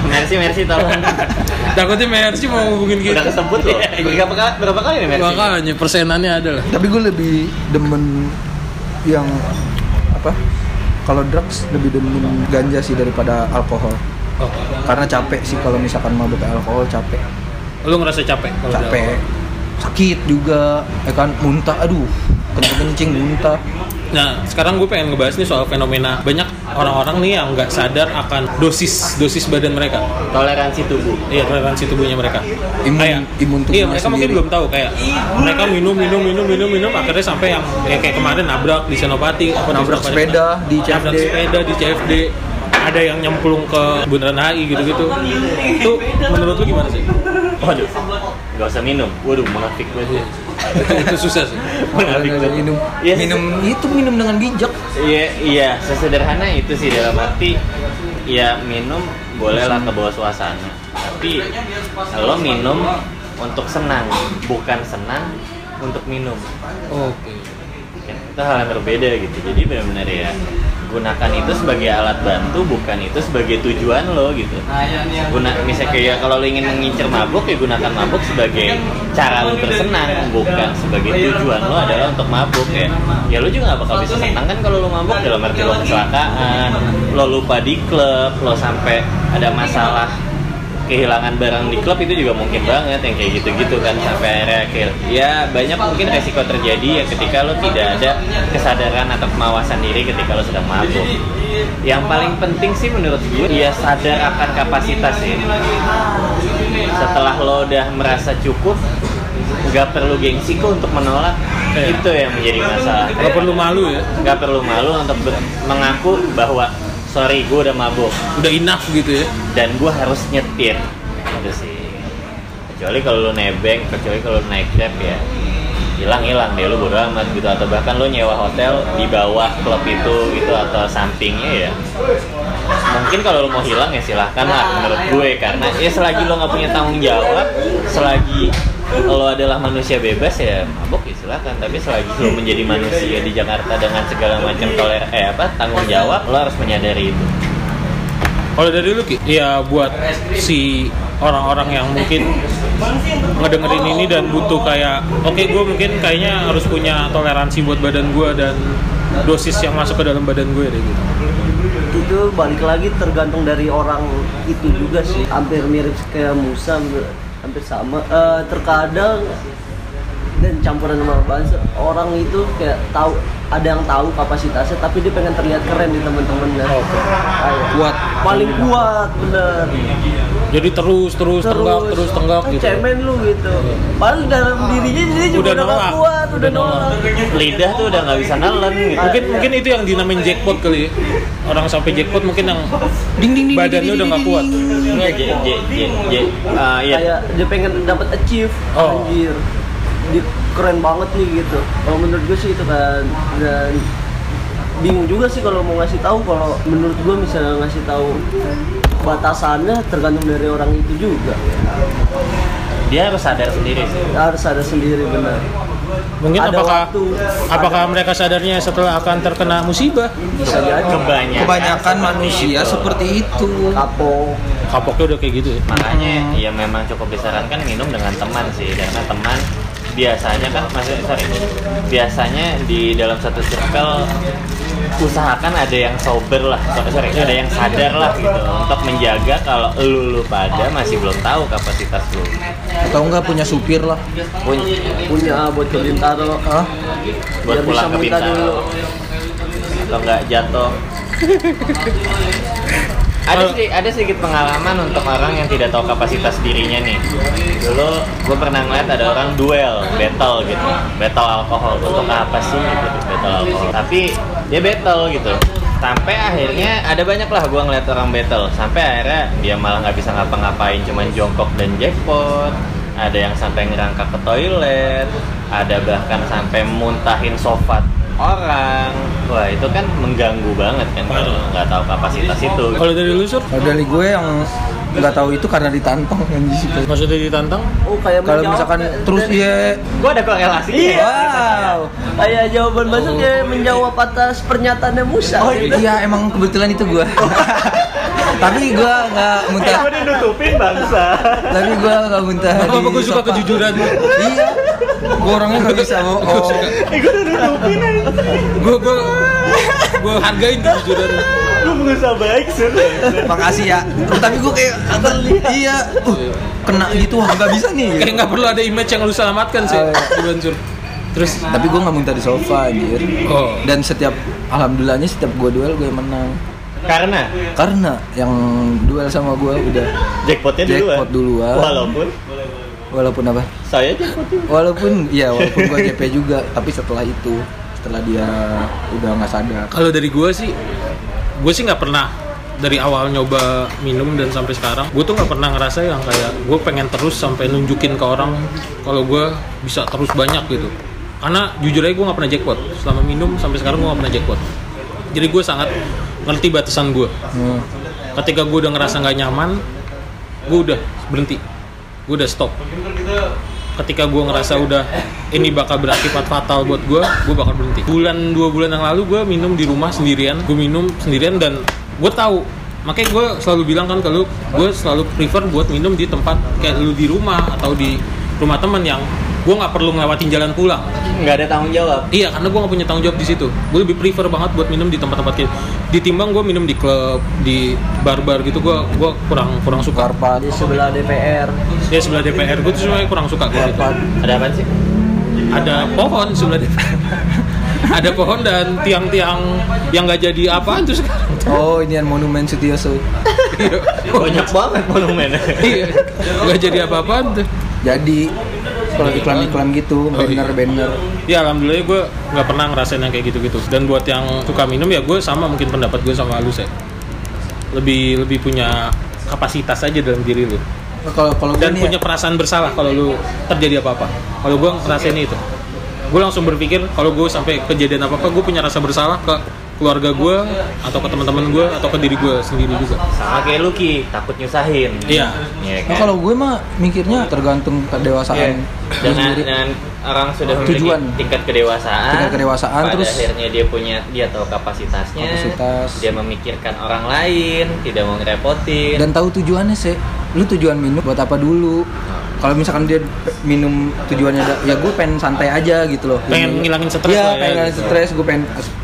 Speaker 4: Mercy, Mercy tolong
Speaker 1: Takutnya Messi mau ngubungin kita.
Speaker 4: Udah kesebut loh Berapa kali, berapa kali nih Mercy?
Speaker 1: Makanya persenannya ada lah.
Speaker 2: tapi gue lebih demen yang apa kalau drugs lebih demen ganja sih daripada alkohol
Speaker 1: Oh.
Speaker 2: karena capek sih kalau misalkan mabuk kayak alkohol capek
Speaker 1: Lu ngerasa capek kalau udah
Speaker 2: capek sakit juga ya kan muntah aduh kencing kencing muntah
Speaker 1: Nah, sekarang gue pengen ngebahas nih soal fenomena banyak orang-orang nih yang nggak sadar akan dosis dosis badan mereka,
Speaker 4: Toleransi tubuh
Speaker 1: iya toleransi tubuhnya mereka.
Speaker 2: Imun- imun
Speaker 1: Iya
Speaker 2: tubuhnya
Speaker 1: mereka mungkin
Speaker 2: sendiri.
Speaker 1: belum tahu kayak mereka minum minum minum minum minum akhirnya sampai yang ya, kayak kemarin nabrak di Senopati, apa di
Speaker 2: Nabrak
Speaker 1: Senopati.
Speaker 2: sepeda di CFD.
Speaker 1: nabrak sepeda di CFD, ada yang nyemplung ke Bundaran HI gitu-gitu. Itu menurut lu gimana sih?
Speaker 4: Waduh Gak usah minum Waduh munafik banget
Speaker 1: Iya. Itu, itu susah sih.
Speaker 4: Munafik
Speaker 2: Orang
Speaker 4: banget
Speaker 2: minum
Speaker 4: Iya,
Speaker 2: minum itu minum dengan bijak
Speaker 4: Iya, iya, sesederhana itu sih dalam arti ya minum bolehlah ke bawah suasana. Tapi lo minum untuk senang, bukan senang untuk minum.
Speaker 1: Oke.
Speaker 4: Ya, Itu hal yang berbeda gitu. Jadi benar-benar ya gunakan itu sebagai alat bantu, bukan itu sebagai tujuan lo gitu. Guna misalnya kayak ya, kalau lo ingin mengincar mabuk ya gunakan mabuk sebagai cara lo bersenang, bukan sebagai tujuan lo adalah untuk mabuk ya. Ya lo juga gak bakal bisa senang kan kalau lo mabuk dalam arti lo kecelakaan, lo lupa di klub, lo sampai ada masalah kehilangan barang di klub itu juga mungkin banget yang kayak gitu-gitu kan sampai akhirnya akhir- ya banyak mungkin resiko terjadi ya ketika lo tidak ada kesadaran atau kemawasan diri ketika lo sedang mabuk yang paling penting sih menurut gue ya sadar akan kapasitas ya setelah lo udah merasa cukup nggak perlu gengsi kok untuk menolak
Speaker 1: Iya.
Speaker 4: itu yang menjadi masalah
Speaker 1: Nggak perlu malu ya.
Speaker 4: nggak perlu malu untuk ber- mengaku bahwa sorry gue udah mabuk
Speaker 1: Udah enough gitu ya.
Speaker 4: dan gue harus nyetir itu sih kecuali kalau lo nebeng kecuali kalau lo naik grab ya hilang hilang deh lo bodo amat gitu atau bahkan lo nyewa hotel di bawah klub itu gitu atau sampingnya ya mungkin kalau lo mau hilang ya silahkan lah menurut gue karena ya selagi lo nggak punya tanggung jawab selagi lo adalah manusia bebas ya mabok ya silahkan tapi selagi lo menjadi manusia di Jakarta dengan segala macam toler eh apa tanggung jawab lo harus menyadari itu
Speaker 1: Kalau dari lu Ki, ya buat si orang-orang yang mungkin ngedengerin ini dan butuh kayak oke gue mungkin kayaknya harus punya toleransi buat badan gue dan dosis yang masuk ke dalam badan gue deh gitu.
Speaker 3: itu balik lagi tergantung dari orang itu juga sih gitu. hampir mirip kayak Musa hampir sama Eh, terkadang dan campuran sama bahasa orang itu kayak tahu ada yang tahu kapasitasnya tapi dia pengen terlihat keren di temen-temennya Kayak,
Speaker 2: Kuat.
Speaker 3: paling kuat bener
Speaker 1: Jadi terus terus, tenggak terus tenggak
Speaker 3: kan
Speaker 1: gitu.
Speaker 3: cemen lu gitu padahal dalam dirinya dia juga
Speaker 1: Udah
Speaker 3: udah nggak
Speaker 1: nolak.
Speaker 3: kuat udah
Speaker 1: Udah nolak.
Speaker 3: nolak
Speaker 4: lidah tuh udah nggak bisa nelen gitu.
Speaker 1: Mungkin mungkin itu yang dinamain jackpot kali. ya. Orang sampai jackpot mungkin yang
Speaker 2: Ding ding ding.
Speaker 1: badannya udah nggak kuat.
Speaker 4: Nggak, Iya, J, J, J, J. Ah, iya.
Speaker 3: kayak dia pengen dapat achieve
Speaker 1: Oh.
Speaker 3: anjir dia keren banget nih gitu kalau menurut gue sih itu kan dan bingung juga sih kalau mau ngasih tahu kalau menurut gue misalnya ngasih tahu batasannya tergantung dari orang itu juga
Speaker 4: dia harus sadar sendiri sih.
Speaker 3: harus ada sendiri benar
Speaker 1: Mungkin
Speaker 3: Ada
Speaker 1: apakah
Speaker 3: waktu,
Speaker 1: apakah
Speaker 3: ada-
Speaker 1: mereka sadarnya setelah akan terkena musibah?
Speaker 3: bisa jadi
Speaker 4: Kebanyakan,
Speaker 2: Kebanyakan
Speaker 4: seperti
Speaker 2: manusia
Speaker 4: itu.
Speaker 2: seperti itu.
Speaker 3: kapok
Speaker 1: Kapoknya udah kayak gitu ya.
Speaker 4: Makanya
Speaker 2: Hmm.
Speaker 4: ya memang cukup disarankan minum dengan teman sih karena teman biasanya kan masih sorry biasanya di dalam satu circle usahakan ada yang sober lah sorry, sorry ada yang sadar lah gitu untuk menjaga kalau lu lu pada masih belum tahu kapasitas lu
Speaker 2: Atau enggak punya supir lah.
Speaker 4: pun
Speaker 3: punya buat ke Bintaro
Speaker 2: Hah?
Speaker 3: Biar
Speaker 4: buat pulang
Speaker 3: bisa
Speaker 4: ke
Speaker 3: minta dulu.
Speaker 4: bintaro atau nggak jatuh ada sedi- ada sedikit pengalaman untuk orang yang tidak tahu kapasitas dirinya nih dulu gue pernah ngeliat ada orang duel battle gitu battle alkohol untuk apa sih gitu battle alkohol tapi dia battle gitu sampai akhirnya ada banyak lah gue ngeliat orang battle sampai akhirnya dia malah nggak bisa ngapa-ngapain cuman jongkok dan jackpot ada yang sampai ngerangkak ke toilet ada bahkan sampai muntahin sofa orang wah itu kan mengganggu banget kan kalau nggak tahu kapasitas itu
Speaker 1: Kalau dari lu sur,
Speaker 2: Kalau dari gue yang nggak tahu itu karena ditantang anjing itu.
Speaker 1: maksudnya ditantang?
Speaker 3: oh kayak
Speaker 2: Kalau
Speaker 3: menjawab
Speaker 2: misalkan
Speaker 3: dari-
Speaker 2: terus iya
Speaker 4: gue ada korelasinya ya.
Speaker 2: Wow.
Speaker 3: kayak jawaban masuk ya menjawab atas pernyataannya Musa
Speaker 2: iya. Oh
Speaker 3: gitu.
Speaker 2: iya emang kebetulan itu gua. Tapi gua nggak muntah.
Speaker 4: Gua dinutupin bangsa
Speaker 2: Tapi gua nggak muntah. di
Speaker 1: Kenapa gue suka
Speaker 2: sofa.
Speaker 1: kejujuran?
Speaker 2: Iya. Gua orangnya nggak bisa mau. Oh.
Speaker 4: eh gue dinutupin
Speaker 1: Gue gue gue hargain kejujuran. lu.
Speaker 4: gue berusaha baik sih
Speaker 2: Makasih ya. Tapi gua kayak iya. Uh, kena gitu wah nggak bisa nih.
Speaker 1: Kayak nggak perlu ada image yang lu selamatkan
Speaker 3: Iya.
Speaker 1: sih, Bukan, Sur. Terus
Speaker 2: Tapi gua nggak muntah di sofa anjir.
Speaker 1: Oh.
Speaker 2: Dan setiap alhamdulillahnya setiap gua duel gue menang.
Speaker 4: karena
Speaker 2: Karena yang duel sama gua udah
Speaker 4: jackpotnya duluan
Speaker 2: Jackpot duluan.
Speaker 4: walaupun
Speaker 2: walaupun apa?
Speaker 4: saya jackpot
Speaker 2: Walaupun ya walaupun gua JP juga, tapi setelah itu setelah dia udah nggak sadar.
Speaker 1: Kalau dari gue sih, gue sih nggak pernah dari awal nyoba minum dan sampai sekarang, gue tuh nggak pernah ngerasa yang kayak gue pengen terus sampai nunjukin ke orang kalau gue bisa terus banyak gitu. Karena jujur aja gue nggak pernah jackpot. Selama minum sampai sekarang gue nggak pernah jackpot. Jadi gue sangat ngerti batasan gue.
Speaker 2: Hmm.
Speaker 1: Ketika gue udah ngerasa nggak nyaman, gue udah berhenti, gue udah stop. Ketika gue ngerasa udah ini bakal berakibat fatal buat gue, gue bakal berhenti. Bulan dua bulan yang lalu gue minum di rumah sendirian, gue minum sendirian dan gue tahu. Makanya gue selalu bilang kan kalau gue selalu prefer buat minum di tempat kayak lu di rumah atau di rumah temen yang gue nggak perlu ngelewatin jalan pulang.
Speaker 4: nggak ada tanggung jawab
Speaker 1: Iya, karena gue nggak punya tanggung jawab di situ. Gue lebih prefer banget buat minum di tempat-tempat kayak ditimbang gue minum di klub, di bar-bar gitu. Gue gue kurang kurang suka.
Speaker 2: Karpa
Speaker 3: di sebelah DPR
Speaker 1: Ya sebelah DPR gue tuh sebenarnya kurang suka kayak gitu.
Speaker 4: ada apa sih
Speaker 1: Ada pohon sebelah DPR. Ada pohon dan tiang-tiang yang nggak jadi apaan tuh sekarang.
Speaker 2: Oh, ini yang monumen Sutioso.
Speaker 4: banyak banget monumennya
Speaker 1: Iya, nggak jadi apa-apaan tuh.
Speaker 2: Jadi kalau iklan-iklan gitu,
Speaker 1: Oh,
Speaker 2: banner-banner.
Speaker 1: Ya alhamdulillah gue nggak pernah ngerasain yang kayak gitu-gitu. Dan buat yang suka minum ya gue sama mungkin pendapat gue sama lu Shay. Lebih lebih punya kapasitas aja dalam diri lu.
Speaker 2: Nah, Kalau kalau ya. gue
Speaker 1: dan
Speaker 2: nih
Speaker 1: punya perasaan bersalah kalau lu terjadi apa-apa. Kalau gue ngerasain itu, gue langsung berpikir kalau gue sampai kejadian apa-apa, gue punya rasa bersalah ke keluarga gue atau ke teman-teman gue atau ke diri gue sendiri juga.
Speaker 4: sama kayak Lucky takut nyusahin
Speaker 1: Iya.
Speaker 4: Iya
Speaker 2: ya,
Speaker 4: kan?
Speaker 2: nah, kalau gue mah mikirnya tergantung kedewasaan.
Speaker 4: Iya.
Speaker 2: gue
Speaker 4: dengan,
Speaker 2: sendiri.
Speaker 4: dengan orang sudah memiliki
Speaker 2: Tujuan.
Speaker 4: tingkat kedewasaan
Speaker 2: Tingkat kedewasaan,
Speaker 4: pada
Speaker 2: terus-
Speaker 4: akhirnya dia punya dia tahu kapasitasnya
Speaker 2: Kapasitas.
Speaker 4: dia memikirkan orang lain tidak mau ngerepotin
Speaker 2: Dan tahu tujuannya sih. Lu tujuan minum buat apa dulu? Kalau misalkan dia pe- minum tujuannya ada- ya gue pengen santai aja gitu loh.
Speaker 1: Pengen
Speaker 2: Ini-
Speaker 1: ngilangin stres
Speaker 2: Iya,
Speaker 1: lah ya,
Speaker 2: pengen ngilangin
Speaker 1: gitu.
Speaker 2: stres, gue pengen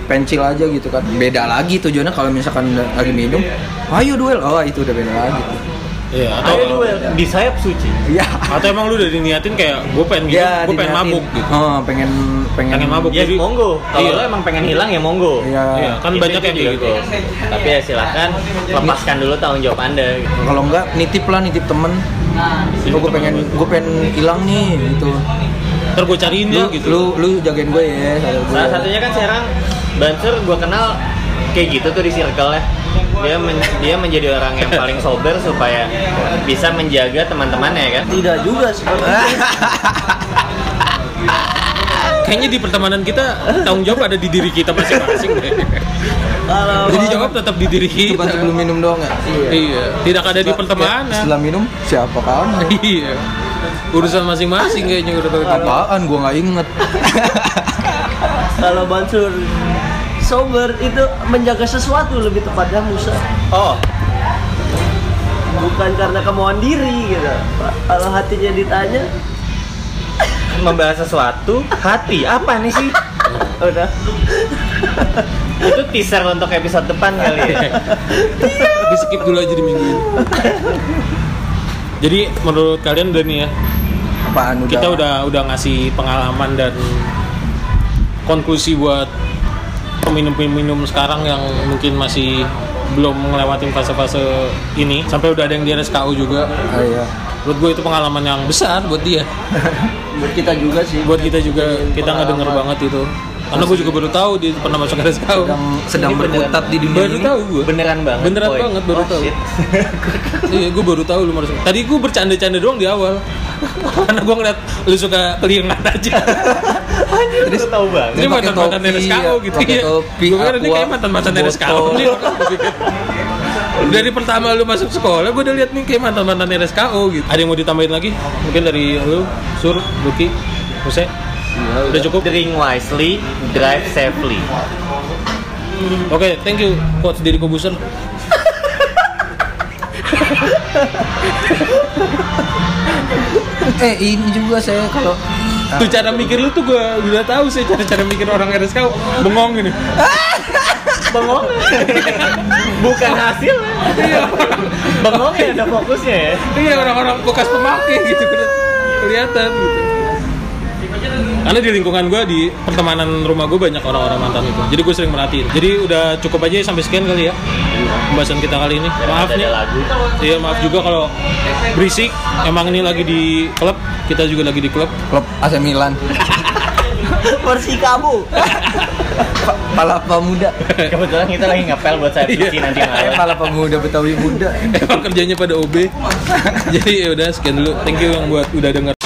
Speaker 2: pengen chill aja gitu kan. Beda lagi tujuannya kalau misalkan lagi minum, ayo duel. Oh, itu udah beda lagi. tuh.
Speaker 1: Iya, atau
Speaker 3: Ayo duel.
Speaker 4: di sayap suci
Speaker 2: Iya.
Speaker 1: atau emang lu udah diniatin kayak gue pengen minum,
Speaker 2: Iya,
Speaker 1: gue pengen
Speaker 2: diniatin.
Speaker 1: mabuk gitu.
Speaker 2: Oh, pengen pengen
Speaker 1: Pengen mabuk.
Speaker 4: ya
Speaker 1: Jadi-
Speaker 4: monggo kalau
Speaker 1: Iya.
Speaker 4: lo emang pengen hilang ya monggo
Speaker 2: Iya.
Speaker 1: Iya, kan
Speaker 4: Itu-
Speaker 1: banyak
Speaker 4: itu
Speaker 1: yang kayak gitu.
Speaker 4: tapi ya silahkan lepaskan dulu tanggung jawab anda gitu.
Speaker 2: Kalau enggak nitip lah nitip temen.
Speaker 1: Nitip Iya,
Speaker 2: gue
Speaker 1: temen
Speaker 2: pengen
Speaker 1: gua.
Speaker 2: gue pengen hilang nih gitu.
Speaker 1: Ntar gue cariin
Speaker 2: Lu,
Speaker 1: ya gitu.
Speaker 2: lu lu jagain gue ya. saudara gue.
Speaker 4: Salah satunya kan sekarang Bansur gue kenal kayak gitu tuh di circle ya. Dia men- dia menjadi orang yang paling sober supaya bisa menjaga teman-temannya ya kan.
Speaker 3: Tidak juga seperti itu.
Speaker 1: Kayaknya di pertemanan kita tanggung jawab ada di diri kita masing-masing. deh.
Speaker 3: Kalau
Speaker 1: Jadi jawab tetap di diri
Speaker 2: Cuma
Speaker 1: kita.
Speaker 2: sebelum minum doang ya.
Speaker 1: gitu. Iya, tidak ada di
Speaker 2: Setelah-
Speaker 1: pertemanan.
Speaker 2: Setelah minum siapa kamu?
Speaker 1: Iya. Urusan masing-masing kayaknya udah pakai kapal.
Speaker 2: Apaan gue nggak inget.
Speaker 3: kalau Bansur sober itu menjaga sesuatu lebih tepatnya Musa
Speaker 4: Oh,
Speaker 3: bukan karena kemauan diri gitu kalau hatinya ditanya
Speaker 4: membahas sesuatu hati apa nih sih?
Speaker 3: udah
Speaker 4: Itu teaser untuk episode depan kali ya.
Speaker 1: Di skip dulu aja di minggu ini. Jadi menurut kalian udah nih ya,
Speaker 2: Apaan udah?
Speaker 1: kita udah udah ngasih pengalaman dan konklusi buat peminum-peminum sekarang yang mungkin masih belum ngelewatin fase-fase ini sampai udah ada yang di RSKU juga
Speaker 2: Ah, iya.
Speaker 1: menurut gue itu pengalaman yang besar buat dia
Speaker 3: buat kita juga sih
Speaker 1: buat kita juga kita nggak denger
Speaker 3: Pengalaman.
Speaker 1: banget itu karena gue juga baru tahu dia pernah masuk RSKU
Speaker 2: Sedang sedang
Speaker 4: Ini beneran.
Speaker 2: berkutat di dunia
Speaker 1: baru
Speaker 2: ini.
Speaker 1: tahu gue
Speaker 4: Beneran banget.
Speaker 1: Beneran
Speaker 4: Boy.
Speaker 1: banget, baru
Speaker 4: Oh,
Speaker 1: tahu.
Speaker 4: shit.
Speaker 1: iya gue baru tahu lu masuk tadi gue bercanda-canda doang di awal karena gue ngeliat lu suka keliengan aja
Speaker 4: Terus tahu banget.
Speaker 1: Dia
Speaker 2: Dia pakai
Speaker 1: mantan mantan
Speaker 2: topi,
Speaker 1: RSKU
Speaker 2: ya,
Speaker 1: gitu
Speaker 2: pakai
Speaker 1: ya.
Speaker 2: topi,
Speaker 1: Gue kira dia
Speaker 2: aqua,
Speaker 1: kayak mantan mantan
Speaker 2: botol.
Speaker 1: RSKU nih. Iya. Dari pertama lu masuk sekolah, gue udah lihat nih kayak mantan mantan RSKU gitu. Ada yang mau ditambahin lagi? Mungkin dari lu, Sur, Lucky, Muse. Udah cukup.
Speaker 4: Drink wisely, drive safely.
Speaker 1: Oke, thank you coach Deddy Kobuser.
Speaker 2: Eh ini juga saya kalau
Speaker 1: Tuh cara mikir lu tuh gue udah tahu sih cara cara mikir orang RSKU bengong gini.
Speaker 4: Bengong. Bukan hasil. Bengong ya ada fokusnya ya.
Speaker 1: Iya orang-orang bekas pemakai gitu keli- kelihatan gitu. Karena di lingkungan gue di pertemanan rumah gue banyak orang-orang mantan itu. Jadi gue sering merhatiin. Jadi udah cukup aja sampai sekian kali ya pembahasan kita kali ini. Maaf
Speaker 4: Ada
Speaker 1: nih.
Speaker 4: lagu.
Speaker 1: Iya maaf juga kalau berisik. Emang ini lagi di klub. Kita juga lagi di klub.
Speaker 2: klub AC Milan,
Speaker 3: versi kamu
Speaker 2: Pa- Pala Pemuda,
Speaker 4: Kebetulan kita lagi ngepel buat saya
Speaker 1: Iya.
Speaker 4: cuci nanti
Speaker 2: Eh,
Speaker 4: malam.
Speaker 2: Pala Pemuda Betawi Muda.
Speaker 1: Emang kerjanya pada OB. Jadi ya udah sekian dulu. Thank you yang buat udah denger.